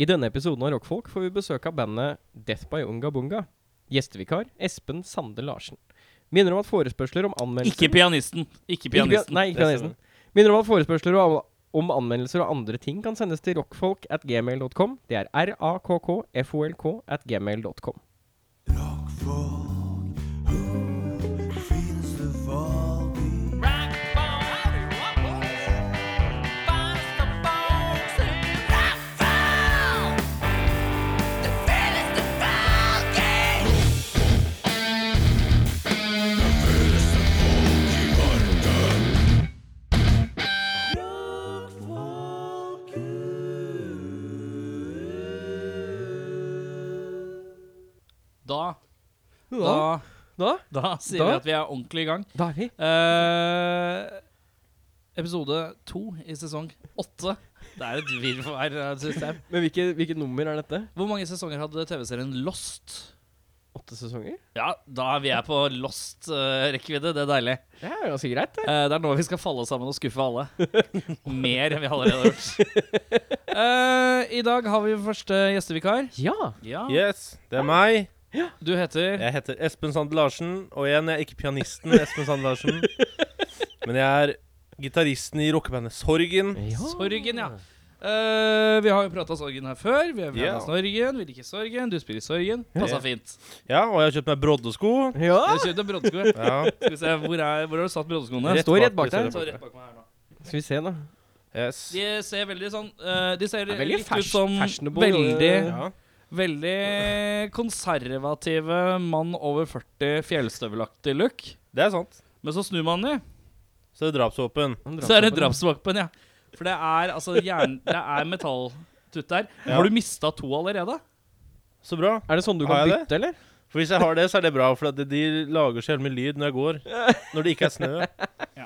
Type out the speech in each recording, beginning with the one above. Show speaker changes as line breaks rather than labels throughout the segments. I denne episoden av Rockfolk får vi besøk av bandet Death by Unga Bunga. Gjestevikar Espen Sande Larsen. Minner om at forespørsler om anmeldelser
Ikke pianisten. Ikke
Ikke pia-
pianisten.
Nei, ikke pianisten. Minner om at forespørsler og an- om anmeldelser og andre ting kan sendes til rockfolk at gmail.com. Det er rakkfolk at gmail.com.
Da, da,
Da, da,
da sier
Da?
vi at vi er ordentlig i gang.
da er vi.
Eh, episode to i sesong åtte. Det er et virvar av et eh, system.
Men hvilket hvilke nummer er dette?
Hvor mange sesonger hadde TV-serien Lost?
Åtte sesonger?
Ja, da er vi er på Lost-rekkevidde. det er deilig.
Det er ganske greit, det.
Eh, det er nå vi skal falle sammen og skuffe alle. Mer enn vi allerede har gjort. Eh, I dag har vi første gjestevikar.
Ja.
Ja.
Yes, det er meg.
Du heter
Jeg heter Espen Sand Larsen. Og igjen, jeg er ikke pianisten Espen Sand Larsen, men jeg er gitaristen i rockebandet Sorgen.
Mm. Sorgen, ja. Eh, vi har jo prata Sorgen her før. Vi har
Ja.
prata Sorgen, vi liker Sorgen, du spiller Sorgen. Passa
Ja.
fint.
Ja, og jeg har kjøpt meg broddesko.
Ja.
Jeg kjøpte broddesko.
Ja,
Skal vi se, hvor, er, hvor har du satt broddeskoene?
Rett- står bak
står
deg.
Så
rett
rett
bak.
bak meg her nå.
Skal vi se, da.
Yes.
De ser veldig sånn eh, De ser
Det er veldig
litt
fas-
ut som
fashionable,
veldig,
Ja.
veldig konservative mann over 40 fjellstøvelaktig look.
Det er sant.
Men så snur man den,
Så er det drapsvåpen.
så er det drapsvåpen, ja. For det er altså jern... Det er metalltutt der.
Ja.
Har du mista to allerede?
Så bra.
Er det sånn du
Har
kan
jeg
bytte, eller?
For hvis jeg har det, så er det bra, for at de lager så jævlig mye lyd når jeg går. Når det ikke er snø.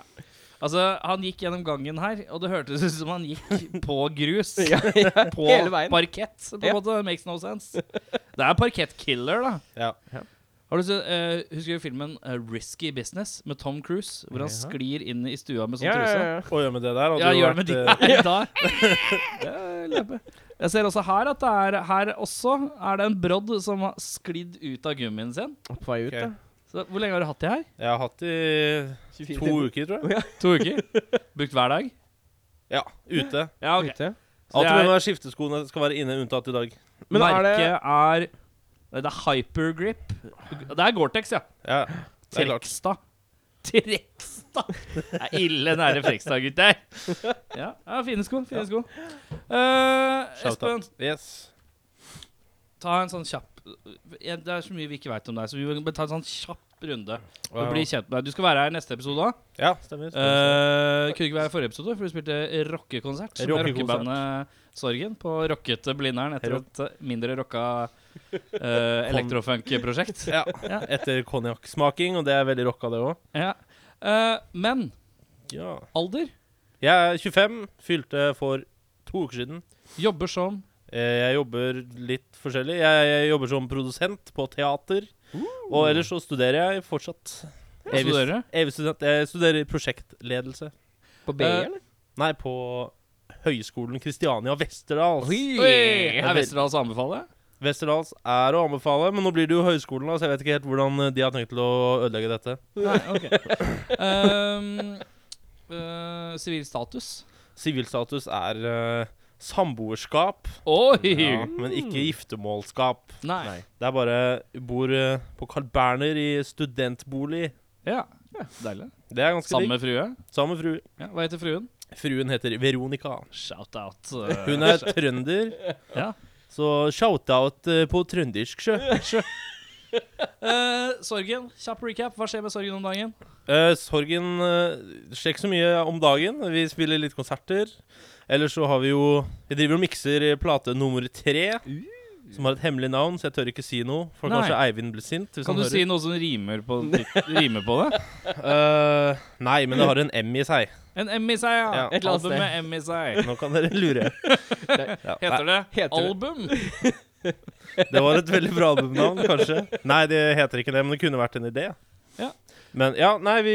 Altså, han gikk gjennom gangen her, og det hørtes ut som han gikk på grus.
Ja, ja,
På
hele veien.
parkett, på en
Ja.
måte. Makes no sense. Det er parkettkiller, da.
Ja.
Har du sett, eh, Husker du filmen eh, Risky Business med Tom Cruise? Hvor
Ja.
han sklir inn i stua med sånn
Ja, ja,
truse.
ja.
Og gjør med det der. hadde
Ja,
jo
gjør det med de
eh,
Nei, da. Det er løpe. Jeg ser også her at det er Her også er det en brodd som har sklidd ut av gummien sin.
På vei ut,
Ok.
da.
Så, hvor lenge har du hatt de her?
Jeg har hatt i to uker, tror jeg.
To uker? Brukt hver dag?
Ja, ute.
Ja, ok.
Ute.
Så det
Alltid med
er,
meg skifteskoene skal være inne, unntatt i dag.
Men er
merket
det-
er Nei, det er Hypergrip. Det er Gore-Tex, ja.
Ja, det er klart.
Trekstad. Trekstad! Det er ille nære Frekstad, gutter. Ja, ja fine sko. Fine
Ja.
sko. Eh,
Shout
Espen,
out. Yes.
ta en sånn kjapp Ja, Det er så mye vi ikke veit om deg, så vi må ta en sånn kjapp runde. Og bli kjent med deg. Du skal være her neste episode òg.
Ja, Eh, stemmer. stemmer.
Uh, kunne ikke være i forrige episode, for du spilte rockekonsert med
Rockekonsert.
rockebandet Sorgen på rockete Blindern etter
Rock.
et eh, mindre rocka uh, elektrofunk-prosjekt.
ja. Etter konjakksmaking, og det er veldig rocka, det òg.
Ja. Eh, men
Ja.
alder?
Jeg er 25, fylte for to uker siden.
Jobber som
Eh, Jeg jobber litt forskjellig. Jeg, jeg jobber som produsent på teater. Og ellers så studerer jeg fortsatt.
Uh. Hva
Evig-
studerer du?
evig student. Jeg studerer prosjektledelse.
På B,
Eh,
eller?
Nei, på Høgskolen Kristiania Vesterdals.
Oi!
Oi!
Er Westerdals å anbefale?
Vesterdals er å anbefale, men nå blir det jo høyskolen, da, så jeg vet ikke helt hvordan eh, de har tenkt til å ødelegge dette.
Nei, ok. Ehm, eh, Sivil status.
Sivilstatus er eh, samboerskap,
Oi!
ja, men ikke giftermålskap.
Nei.
Det er bare bor eh, på Carl Berner i studentbolig.
Ja. Deilig.
Det er ganske
Sammen
digg.
med frue.
Sammen med frue.
Ja, hva heter fruen?
Fruen heter Veronica.
Shout-out.
Hun er trønder,
ja.
så shout-out eh, på trøndersk sjø.
Eh, sorgen, kjapp recap. Hva skjer med sorgen om dagen?
Eh, sorgen eh, skjer ikke så mye om dagen. Vi spiller litt konserter. Eller så har vi jo Vi driver og mikser eh, plate nummer tre. Som har et hemmelig navn, så jeg tør ikke si noe. For
Nei.
kanskje Eivind blir sint. Hvis
Kan du
han
si
hører.
noe som rimer på, rimer på det?
Eh, nei, men det har en M i seg.
En M i seg, ja.
Ja.
Et eller annet
Album med M i seg.
Nå kan dere lure. Ja, nei.
Heter det
Heter det-
album?
Det var et veldig bra albumnavn, kanskje. Nei, det heter ikke det, men det kunne vært en idé.
Ja.
Men ja, nei, vi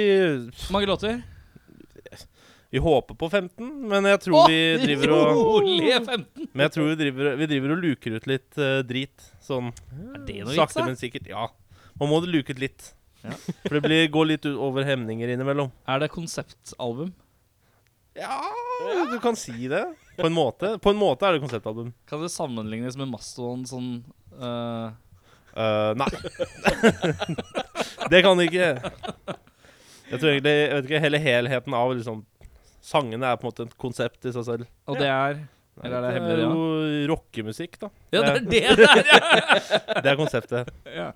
Mange låter?
Vi håper på 15, men jeg tror vi driver og
Rolige 15!
Men jeg tror vi driver, vi driver og luker ut litt eh, drit. Sånn
Er det noe vits,
sakte,
da?
men sikkert. Ja. Man må luke ut litt.
Ja.
For det blir, går litt ut over hemninger innimellom.
Er det konseptalbum?
Ja, du kan si det. På en måte På en måte er det konseptalbum.
Kan det sammenlignes med Mastodon sånn eh,
Eh, nei. det kan det ikke. Jeg tror egentlig Jeg vet ikke hele helheten av liksom Sangene er på en måte et konsept i seg selv.
Og det er Eller er det hemmelig,
jo rockemusikk, da.
Ja, det
Det
er det der, ja!
Det er konseptet.
ja.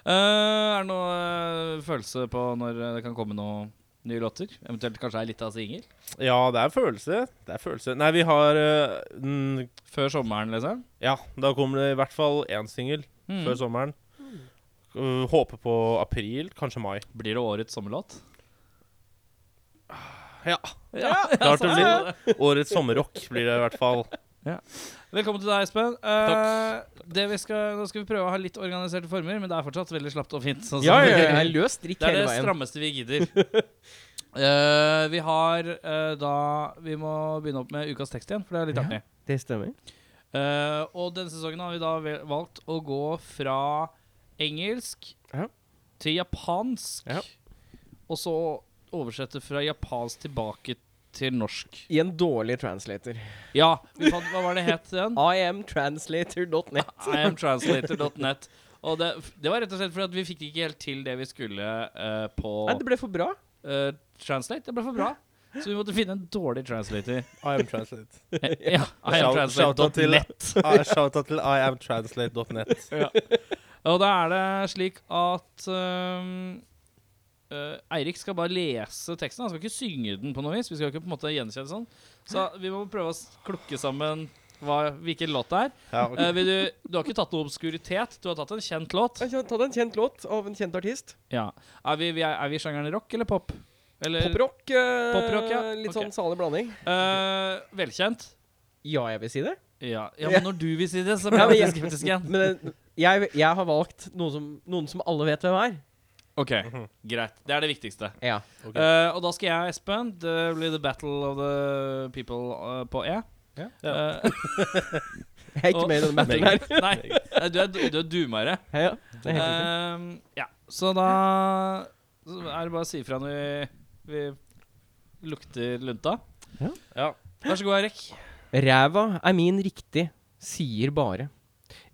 Eh, er det noe eh, følelse på når eh, det kan komme noen nye låter? Eventuelt kanskje ei lita singel?
Ja, det er følelse. Det er følelse. Nei, vi har eh, mm,
Før sommeren, liksom?
Ja, da kommer det i hvert fall én singel
Mm.
før sommeren. Uh, håper på april, kanskje mai.
Blir det årets sommerlåt?
Ja.
Ja,
Klart det blir. Årets sommerrock blir det i hvert fall.
Velkommen til deg, Espen. Eh, Det vi skal, nå skal vi prøve å ha litt organiserte former, men det er fortsatt veldig slapt og fint. sånn som
Ja, ja,
det-
ja. jeg Altså, er Løs drikk
Det er
hele
det
veien.
strammeste vi gidder. Eh, vi har eh, da Vi må begynne opp med ukas tekst igjen, for det er litt
Ja.
artig.
Det stemmer.
Eh, og denne sesongen har vi da vel- valgt å gå fra engelsk
Ja.
til japansk,
Ja.
og så oversette fra japansk tilbake til norsk.
I en dårlig translator.
Ja, vi fant, hva var det het igjen?
Iamtranslator.net.
Iamtranslator.net. Og det, det var rett og slett fordi at vi fikk det ikke helt til det vi skulle eh, på
Nei, det ble for bra.
eh, Translate. Det ble for bra. Så vi måtte finne en dårlig translator.
I am translate.
ja,
Shout- shout-out til-
Iamtranslate.net.
Shout-out til iamtranslate.net.
Og da er det slik at um, eh, Eirik skal bare lese teksten. Han skal ikke synge den på noe vis. Vi skal ikke på en måte gjenkjenne sånn. Så vi må prøve å s- klukke sammen hva, hvilken låt det er.
Ja, ok.
Eh, vil du, du har ikke tatt noe obskuritet. Du har tatt en kjent låt.
Jeg kan Ta deg en kjent låt av en kjent artist.
Ja. Er vi, vi er, er vi i sjangeren rock eller pop? Eller
Poprock. eh,
Poprock, ja.
Litt
Ok.
sånn salig blanding.
Eh, velkjent?
Ja, jeg vil si det.
Ja. ja, men
Ja.
når du vil si det, så blir
Ja, men
jeg
jeg-
alltid skeptisk igjen.
Men eh, jeg, jeg har valgt noen som, noen som alle vet hvem er.
OK,
Mhm.
greit. Det er det viktigste.
Ja.
Ok.
Eh, og da skal jeg, Espen, det blir The Battle of the People eh, på E.
Ja.
Eh,
Jeg er ikke
Og-
med i denne battlen her.
Nei, Eh, du er, du er dumere.
Ja, det er helt riktig.
Ehm, ja, så da så er det bare å si ifra når vi, vi lukter lunta.
Ja.
Vær så god, Eirik.
Ræva er min riktig, sier bare.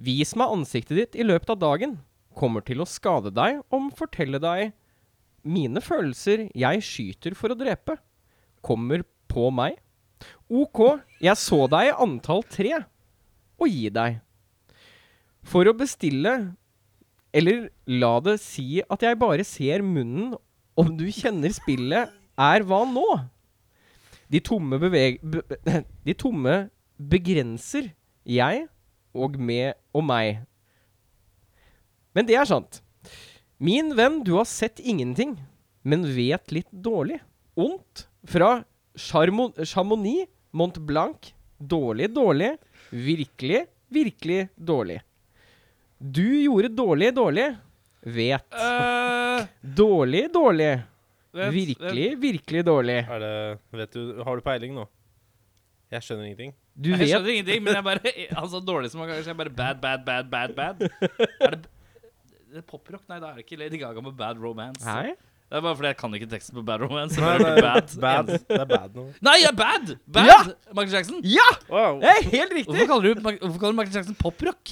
Vis meg ansiktet ditt i løpet av dagen. Kommer til å skade deg om fortelle deg mine følelser jeg skyter for å drepe. Kommer på meg. Ok, jeg så deg i antall tre, og gi deg. For å bestille, eller la det si at jeg bare ser munnen om du kjenner spillet, er hva nå? De tomme beveg... Be, be- de tomme begrenser jeg og med og meg. Men det er sant. Min venn, du har sett ingenting, men vet litt dårlig. Ondt. Fra Charmo- Chamonix, Mont Blanc. Dårlig, dårlig. Virkelig, virkelig dårlig. Du gjorde dårlig, dårlig. Vet.
Eh,
Dårlig, dårlig.
vent,
Virkelig,
vent.
virkelig dårlig.
Er det Vet du Har du peiling nå? Jeg skjønner ingenting.
Du
Jeg
vet
skjønner ingenting, men jeg bare Han så dårlig som han kan, så jeg bare bad, bad, bad, bad, bad. Er det, det er poprock? Nei, da er det ikke Lady Gaga med Bad Romance.
Nei?
Det er bare fordi jeg kan ikke teksten på Bad Romance. Nei, det er bad.
bad. Det er bad nå.
Nei, jeg er bad! Bad!
Ja!
Michael Jackson.
Ja!
Wow.
Det er helt riktig!
Hvorfor kaller du, Mag- hvorfor kaller du Michael Jackson poprock?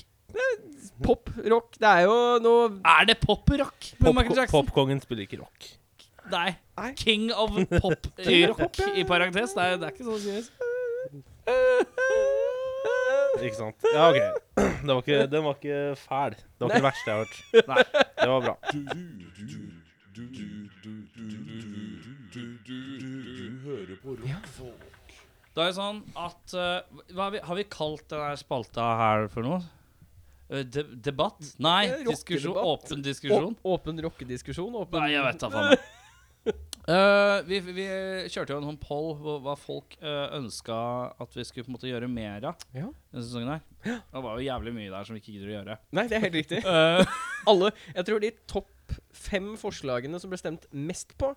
Pop, rock, det er jo noe
Er det poprock med
Pop-
Michael Jackson?
Popkongen spiller ikke rock.
Nei.
Nei.
King of pop
King of
rock
pop, ja.
i parentes. Det er, det er ikke sånn seriøst.
Ikke sant? Ja, OK. Det var ikke, den var ikke fæl. Det var ikke det verste jeg har hørt.
Nei.
Det var bra.
Du, du, du, du, du, du, du, du, du, du hører på rockfolk.
Da er det sånn at eh, hva har, vi, har vi kalt denne spalta her for noe? Eh, De debatt? Nei,
Eh,
diskusjon.
rockedebatt.
Åpen diskusjon.
Åp- Åpen rockediskusjon. Åpen
Nei, jeg vet da faen. meg. Eh, vi, vi kjørte jo en sånn poll hvor hva folk uh, ønska at vi skulle på en måte gjøre mer av
Ja.
denne sesongen. her Det var jo jævlig mye der som vi ikke gidder å gjøre.
Nei, det er helt riktig.
Eh,
Alle Jeg tror de topp fem forslagene som ble stemt mest på,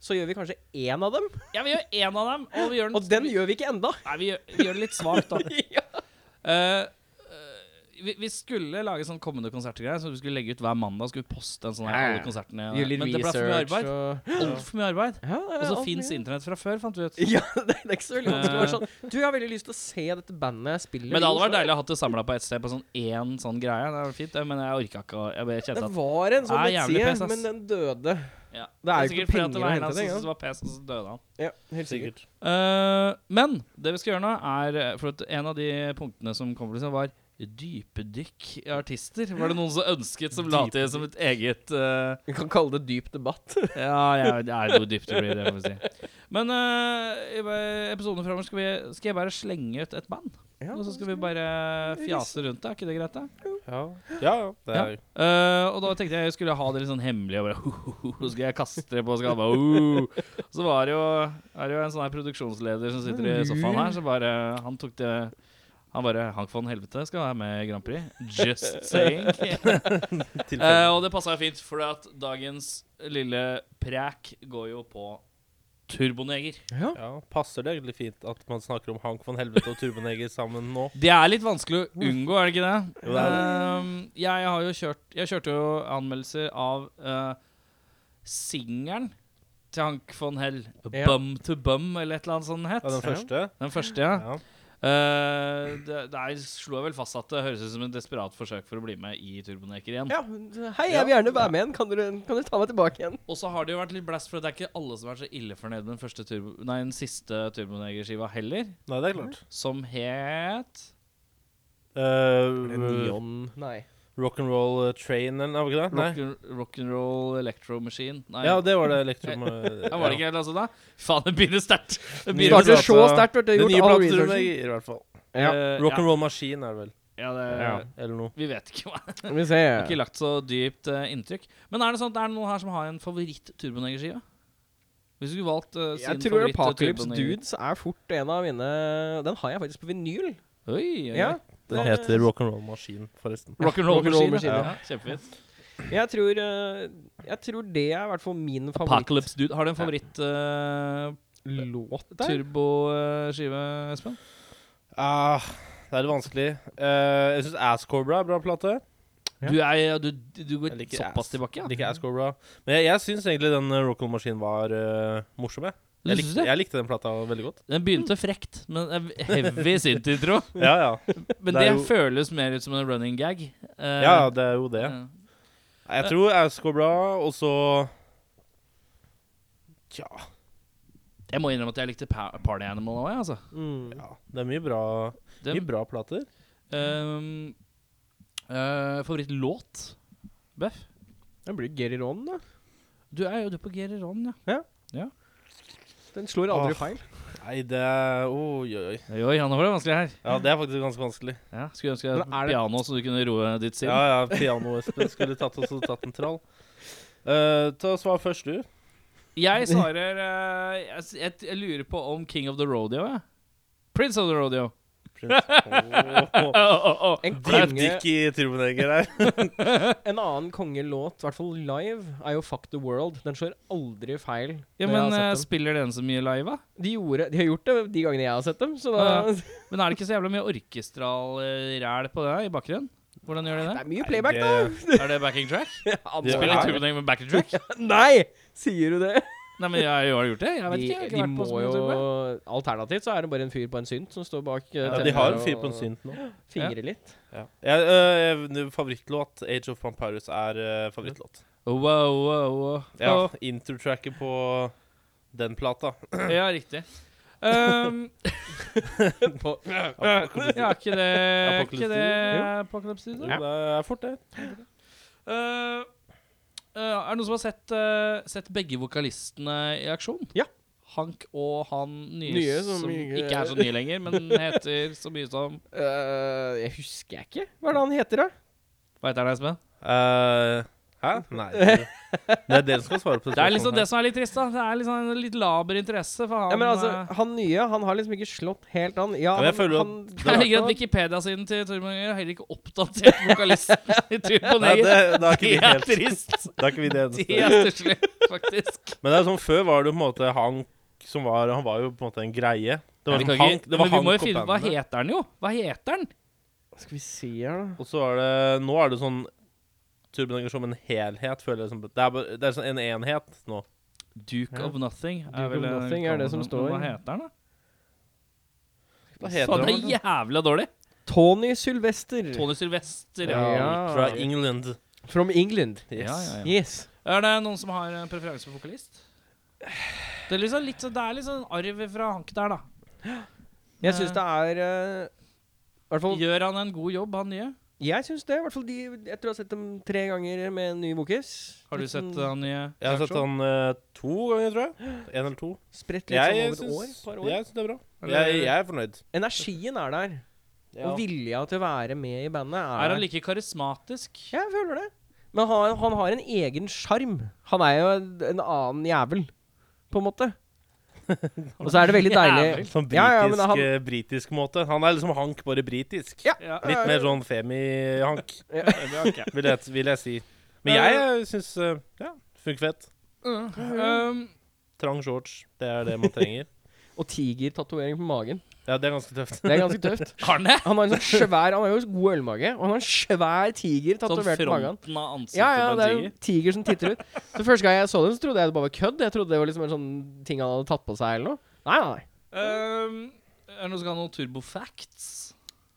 så gjør vi kanskje én av dem.
Ja, vi gjør én av dem, og vi gjør den,
Og den gjør vi ikke enda.
Nei, vi gjør, vi gjør det litt svakt, da. Eh, eh, vi, vi skulle lage sånn kommende konsertgreier, så vi skulle legge ut hver mandag. Skulle vi poste en sånn her,
Ja, ja.
alle konsertene
Gjør litt
Men det ble for mye
research
arbeid.
og
Altfor mye arbeid.
ja,
Og så fins internett fra før, fant vi ut.
Ja, det er ikke så veldig vanskelig å være sånn Du, jeg har veldig lyst til å se dette bandet spille.
Eh. Men det hadde
i
vært
Oslo.
deilig å ha det samla på ett sted, på sånn én sånn greie. Det var fint, det, men jeg orka ikke å Jeg bare kjente
Det
at
var en sånn
Nei, jævlig pes,
nettside,
ass.
men den døde.
ja.
Det er jo
sikkert
ikke
fordi at det
penger
var
å
en
hente
av oss
det, ja.
som syntes det var pes, og så døde han.
Ja, helt sikkert.
Eh, men det vi skal gjøre nå, er eh, For at en av de punktene som kom til seg, var dypedykk i artister. Var det noen som ønsket som la til som et eget eh,
Vi kan kalle det dyp debatt.
Ja, ja, det er noe dypt det blir, det må vi si. Men eh, i eh, episoden framover skal, vi- skal jeg bare slenge ut et band.
Ja,
Og så skal vi bare fjase rundt det. Er ikke det greit, da?
Ja, ja. ja, Det er,
Eh, og da tenkte jeg jeg skulle ha det litt sånn hemmelig. Og bare, så skal jeg kaste det på og skal alle bare, uh. Så var det jo, er det jo en sånn her produksjonsleder som sitter i sofaen her, så bare Han tok det Han bare Hank von Helvete skal være med i Grand Prix. Just saying. Eh, og det passa jo fint, for at dagens lille præk går jo på Turboneger.
Ja.
ja, passer det egentlig fint at man snakker om Hank von Helvete og Turboneger sammen nå?
Det er litt vanskelig å unngå, er det ikke det?
Mm. Jo, det er det.
Ehm, jeg har jo kjørt Jeg kjørte jo anmeldelser av uh, singelen til Hank von Hell.
Ja.
Bum to bum, eller et eller annet sånt het.
Ja, den første?
Den første, ja.
Ja.
Eh, det, der slo jeg vel fast at det høres ut som et desperat forsøk for å bli med i Turboneker igjen.
Ja, hei, jeg vil gjerne være med igjen. Kan dere, kan dere ta meg tilbake igjen?
Og så har det jo vært litt blast, for det er ikke alle som er så ille fornøyd med den, første turbo, nei, den siste Turboneger-skiva heller,
Nei, det er klart.
som het
Uh,
Neon Nei.
Rock'n'roll Train, eller var ikke eh, det?
Rock'n'Roll
Nei.
rock and Roll Electro Machine. Nei,
Ja, det var det eh, elektrom...
Ja, var det ikke helt altså da? Faen, det begynner sterkt. Det
Nye
begynner
plater.
Starter
plata-
så sterkt, vet du.
Den nye
Gjort all
platen
researchen.
i hvert fall.
Ja.
Eh, ja,
Rock'n'roll Maskin er det vel. Eh,
ja, det,
Ja.
Eller noe.
Vi vet ikke hva. Det
Skal vi se.
har ikke lagt så dypt eh, inntrykk. Men er det sånn at er det noen her som har en favoritt-turbonegerskive? Hvis du skulle valgt eh, sin
Jeg tror
favoritt
Apocalypse
Turboneger-
Dudes er fort en av mine Den har jeg faktisk på vinyl.
Oi, oi,
Ja.
oi.
Den heter Rock'n'roll Maskin, forresten.
Rock'n'roll
Rock'n'roll
Machine.
Machine,
Ja. Kjempefint.
Jeg tror, eh, jeg tror det er i hvert fall min favoritt
Apocalypse Dude. Har du en eh, favoritt-turboskive,
låt der.
Espen?
Ah, det er litt vanskelig. Eh, jeg syns Ass Cobra er bra plate.
Ja.
Du, er, ja, du, du går
Jeg liker
såpass
ass.
tilbake, ja?
Jeg liker Ass Cobra. Men jeg, jeg syns egentlig den eh, Rock'n'roll Maskin var eh, morsom, jeg.
Du
Jeg
synes
likte,
det?
jeg likte den plata veldig godt.
Den begynte frekt, men eh, heavy synth-intro.
Ja, ja.
Men
Det
det,
er jo-
føles mer ut som en running gag. Eh,
ja ja, det er jo det.
eh,
Jeg tror Ass Cobra, og så Tja.
Jeg må innrømme at jeg likte pa Party Animal òg, jeg, altså.
Mm.
Ja, det er mye bra,
Det-
mye bra plater.
ehm, eh, favorittlåt? Beff?
Det blir Geri Ron, da.
Du er jo du er på Geri Ron, ja.
Den slår aldri
Åh.
feil.
Nei, det er Oi, oi, oi.
Oi, Oi, ja, nå var det vanskelig her.
Ja, det er faktisk ganske vanskelig.
Ja, skulle ønske jeg
Men er
hadde
det-
piano, så du kunne roe ditt sinn.
Ja, ja, piano-Espen skulle tatt oss og tatt en trall. Eh, ta og Svar først, du.
Jeg svarer eh, jeg, s- jeg, jeg lurer på om King of the Rodeo, jeg. Prince of the Rodeo.
Prins. Åh,
Å, å, å.
En
Dypt
konge,
dykk i Trubenegger her.
en annen kongelåt, i hvert fall live, er jo Fuck the World. Den slår aldri feil.
Ja,
når jeg har
men eh,
sett dem.
spiller den så mye live, da?
de, gjorde, de har gjort det de gangene jeg har sett dem, så da
Ja, Men er det ikke så jævla mye orkestral eh, ræl på det i bakgrunnen? Hvordan gjør de
Det
det?
er mye playback, da!
Er det backing track?
Ja,
Det-
må jo
Spiller
Ja.
være det.
Turboneger med backing track?
Nei! Sier du det?
Nei, men jeg, jeg har gjort det. Jeg vet
De,
ikke. Jeg har ikke
de
vært
må
på sånn så mye
jo
turbulent.
Alternativt så er det bare en fyr på en synt som står bak eh,
Ja, de
tenner
har en fyr
og
på en synt nå.
Fingrer litt.
Ja. Jeg, eh, jeg- favorittlåt Age of Vampires er eh, favorittlåt.
Wow, wow, wow.
Ja, Intertracket på den plata.
Å, ja riktig. Um,
På-
ja, ikke det
Apocalypse
Ikke det
Dude,
Apocalypse Dude?
Det er fort, det.
Uh, uh, er det noen som har sett, uh, sett begge vokalistene i aksjon?
Ja.
Hank og han nye,
Nye
som,
som eh, ikke-
ikke er så nye lenger, men heter så mye som
Eh, jeg husker jeg ikke. Hva er det han heter, da?
Hva heter han, Espen?
Eh, Hæ? Nei. Det er dere som skal svare på det.
Det er liksom
spørsmålet
det som er litt trist, da. Det er liksom en litt laber interesse for han.
Ja, men altså,
eh,
han nye, han har liksom ikke slått helt an. Ja,
Ja, men jeg føler at
han,
det ligger at Wikipedia-siden til Tormod Jønger er heller ikke oppdatert vokalisten i Turbo
Nei,
Neger.
det, da er
Det
ikke vi
er
helt
trist.
Da er ikke vi det
Det
eneste.
er stusslig, faktisk.
Men det er sånn, før var det jo på en måte Hank som var Han var jo på en måte en greie. Det
Men
var
vi
sånn
kan
Hank,
ikke-
det var
men vi må jo
Hank og
finne ut Hva
bandet.
heter han, jo? Hva heter han?
Skal vi se her, da.
Og så er det Nå er det sånn Turbinenger som en helhet, føler jeg. Som, det, er, bare- det er sånn en enhet nå.
Duke
Ja.
of Nothing.
Duke of Nothing er det som står.
Hva heter han, da?
Hva
Faen,
heter
det
det?
er jævla dårlig.
Tony Sylvester.
Tony Sylvester.
Ja.
Fra England.
From England.
Ja, ja, ja.
Yes.
Er det noen som har eh, preferanse for vokalist? Det er liksom litt, så- det er litt sånn arv fra Hank der, da.
Jeg syns det er eh, i hvert fall,
Gjør han en god jobb, han nye?
Jeg syns det. I hvert fall de Jeg tror jeg har sett dem tre ganger med en ny bokis.
Har du
Litt
sett eh,
sånn
han nye?
Jeg har sett han eh, to ganger, tror jeg. En eller to.
Spredt litt
Jeg
sånn over et år.
syns
Par år.
jeg syns det er bra.
Eller-
Jeg, jeg er fornøyd.
Energien er der.
Ja.
Og vilja til å være med i bandet er,
Er han
der.
like karismatisk?
Jeg føler det. Men han, han har en egen sjarm. Han er jo en annen jævel, på en måte. Og så er det veldig deilig
Jævel.
Sånn britisk,
Ja, ja, men han-
eh, britisk måte. Han er liksom Hank, bare britisk.
Ja.
Ja.
Litt mer sånn femi-Hank, vil, jeg- vil jeg si.
Eh.
Men jeg syns Ja, funker fett.
Um,
Trang shorts, det er det man trenger.
Og tigertatovering på magen.
Ja, det er ganske tøft.
Det er ganske tøft.
har han det?
Han har en sånn svær Han har jo god ølmage, og han har en svær tiger
Sånn
tatovert på magen.
fronten av ansiktet
Ja, ja,
på
det er
en
jo
tiger?
en tiger som titter ut. Så Første gang jeg så den, så trodde jeg det bare var kødd. Jeg trodde det var liksom en sånn ting han hadde tatt på seg eller noe. Nei, nei, nei.
Um, er det noen som kan noen turbofacts?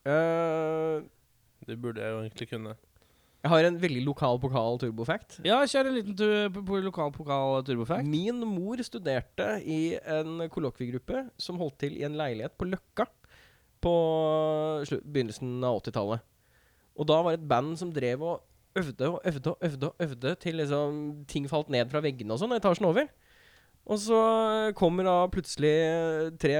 Øh,
Det burde jeg jo egentlig kunne.
jeg har en veldig lokal pokal turbofact.
Ja, kjør en liten tu- på- på lokal pokal turbofact.
Min mor studerte i en kollokviegruppe som holdt til i en leilighet på Løkka på slu- begynnelsen av 80-tallet. Og da var det et band som drev og øvde og øvde og øvde og øvde til liksom ting falt ned fra veggene og sånn, etasjen over. Og så kommer da plutselig tre,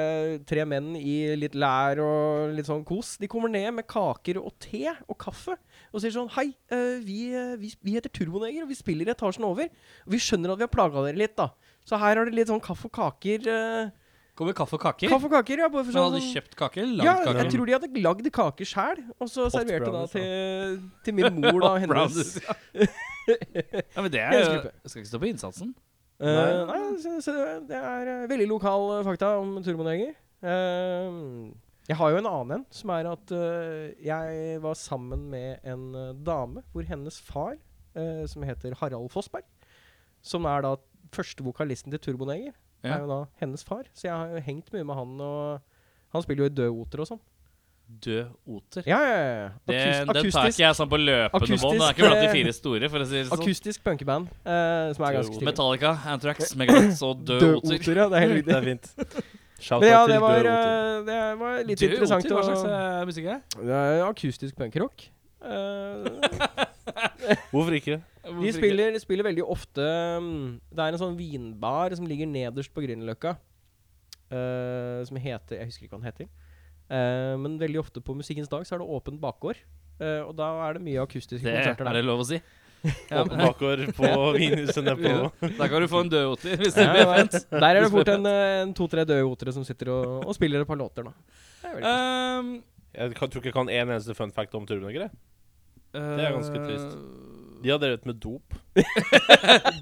tre menn i litt lær og litt sånn kos. De kommer ned med kaker og te og kaffe og sier sånn Hei, eh, vi, eh, vi, vi heter Turboneger, og vi spiller i etasjen over. Og vi skjønner at vi har plaga dere litt, da. Så her har dere litt sånn kaffe og kaker. eh,
Mm. Kommer kaffe og kaker?
kaffe og kaker, ja. Bare for
Men hadde
sånn,
de kjøpt kake? Lagd
ja,
kake?
jeg tror de hadde lagd kaker sjæl, og så
Hot
serverte da
brownies,
til, til min mor da, og hennes
Brownies, ja. ja, men det er,
Hennes gruppe.
jeg skal ikke stå på innsatsen.
Eh, Nei, så, så det er eh, veldig lokal eh, fakta om Turboneger. Eh, jeg har jo en annen en, som er at eh, jeg var sammen med en eh, dame hvor hennes far, eh, som heter Harald Fossberg, som er da første vokalisten til Turboneger,
Ja.
er jo da hennes far. Så jeg har jo hengt mye med han, og han spiller jo i dødoter og sånn.
Død oter.
Ja, ja, ja.
Det,
Akus-
den tar ikke jeg sånn på løpende
akustisk,
bånd. Det er ikke blant de
eh,
fire store, for å si det sånn.
akustisk punkeband, eh, som er ganske stilig.
Metallica, Anthrax, Megadeth og Død oter.
ja. Det er helt riktig.
Det er fint. Shout out
Men ja, det
til
var,
Døde Oter.
eh, det var litt
Død
interessant.
oter, hva
å-
slags eh, musikk er det?
Det er akustisk punkrock. Eh,
Hvorfor ikke?
Hvorfor
de
ikke?
spiller, spiller veldig ofte mm, Det er en sånn vinbar som ligger nederst på Grünerløkka. eh, som heter Jeg husker ikke hva den heter. Eh, men veldig ofte på Musikkens dag så er det åpent bakgård. eh, og da er det mye akustiske
Det
konserter
er
der.
det lov å si. Ja,
Åpen bakgård på vinhuset nedpå.
Da kan du få en død oter. Hvis det
Ja,
blir
ja.
fett.
Der er det fort en, eh, en to-tre døde otere som sitter og, og spiller et par låter, da. Det er veldig koselig.
Um,
Jeg kan- tror ikke jeg kan en eneste fun fact om Turbinenger. jeg.
det
er ganske trist. De har drevet med dop.
eh,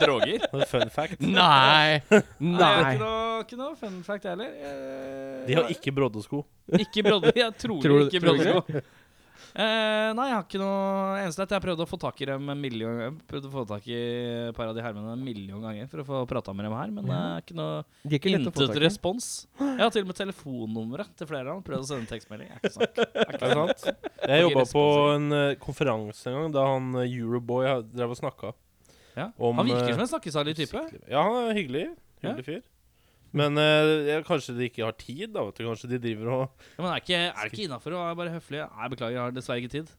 Droger?
Det er Fun fact.
Nei!
jeg har
Nei.
Ikke noe, ikke noe fun fact, jeg heller. Eh,
De har ikke broddesko.
Ikke Brodde. Jeg tror,
Tror du-
ikke
tror du
Brodde. Eh, nei, jeg har ikke noe Eneste er at jeg prøvde å få tak i dem en million ganger. Prøvde å få tak i et par av de hermene en million ganger for å få prata med dem her, men det er ikke noe
De er ikke lett å få
intet
tak i.
respons. Jeg har til og med telefonnummeret til flere av dem. Prøvd å sende tekstmelding. Jeg er ikke sant. Jeg er
Er
ikke
det
sant.
sant? Jeg jobba
respons,
på en eh, konferanse en gang da han eh, Euroboy ha- drev og snakka.
Ja.
Om,
Han virker
eh,
som en snakkesalig type.
Ja, han er hyggelig. Hyggelig fyr. Men eh, ja, kanskje de ikke har tid, da. vet du Kanskje de driver og
Ja, men er ikke, er det ikke innafor å være bare høflig? Nei, beklager, jeg har dessverre ikke tid.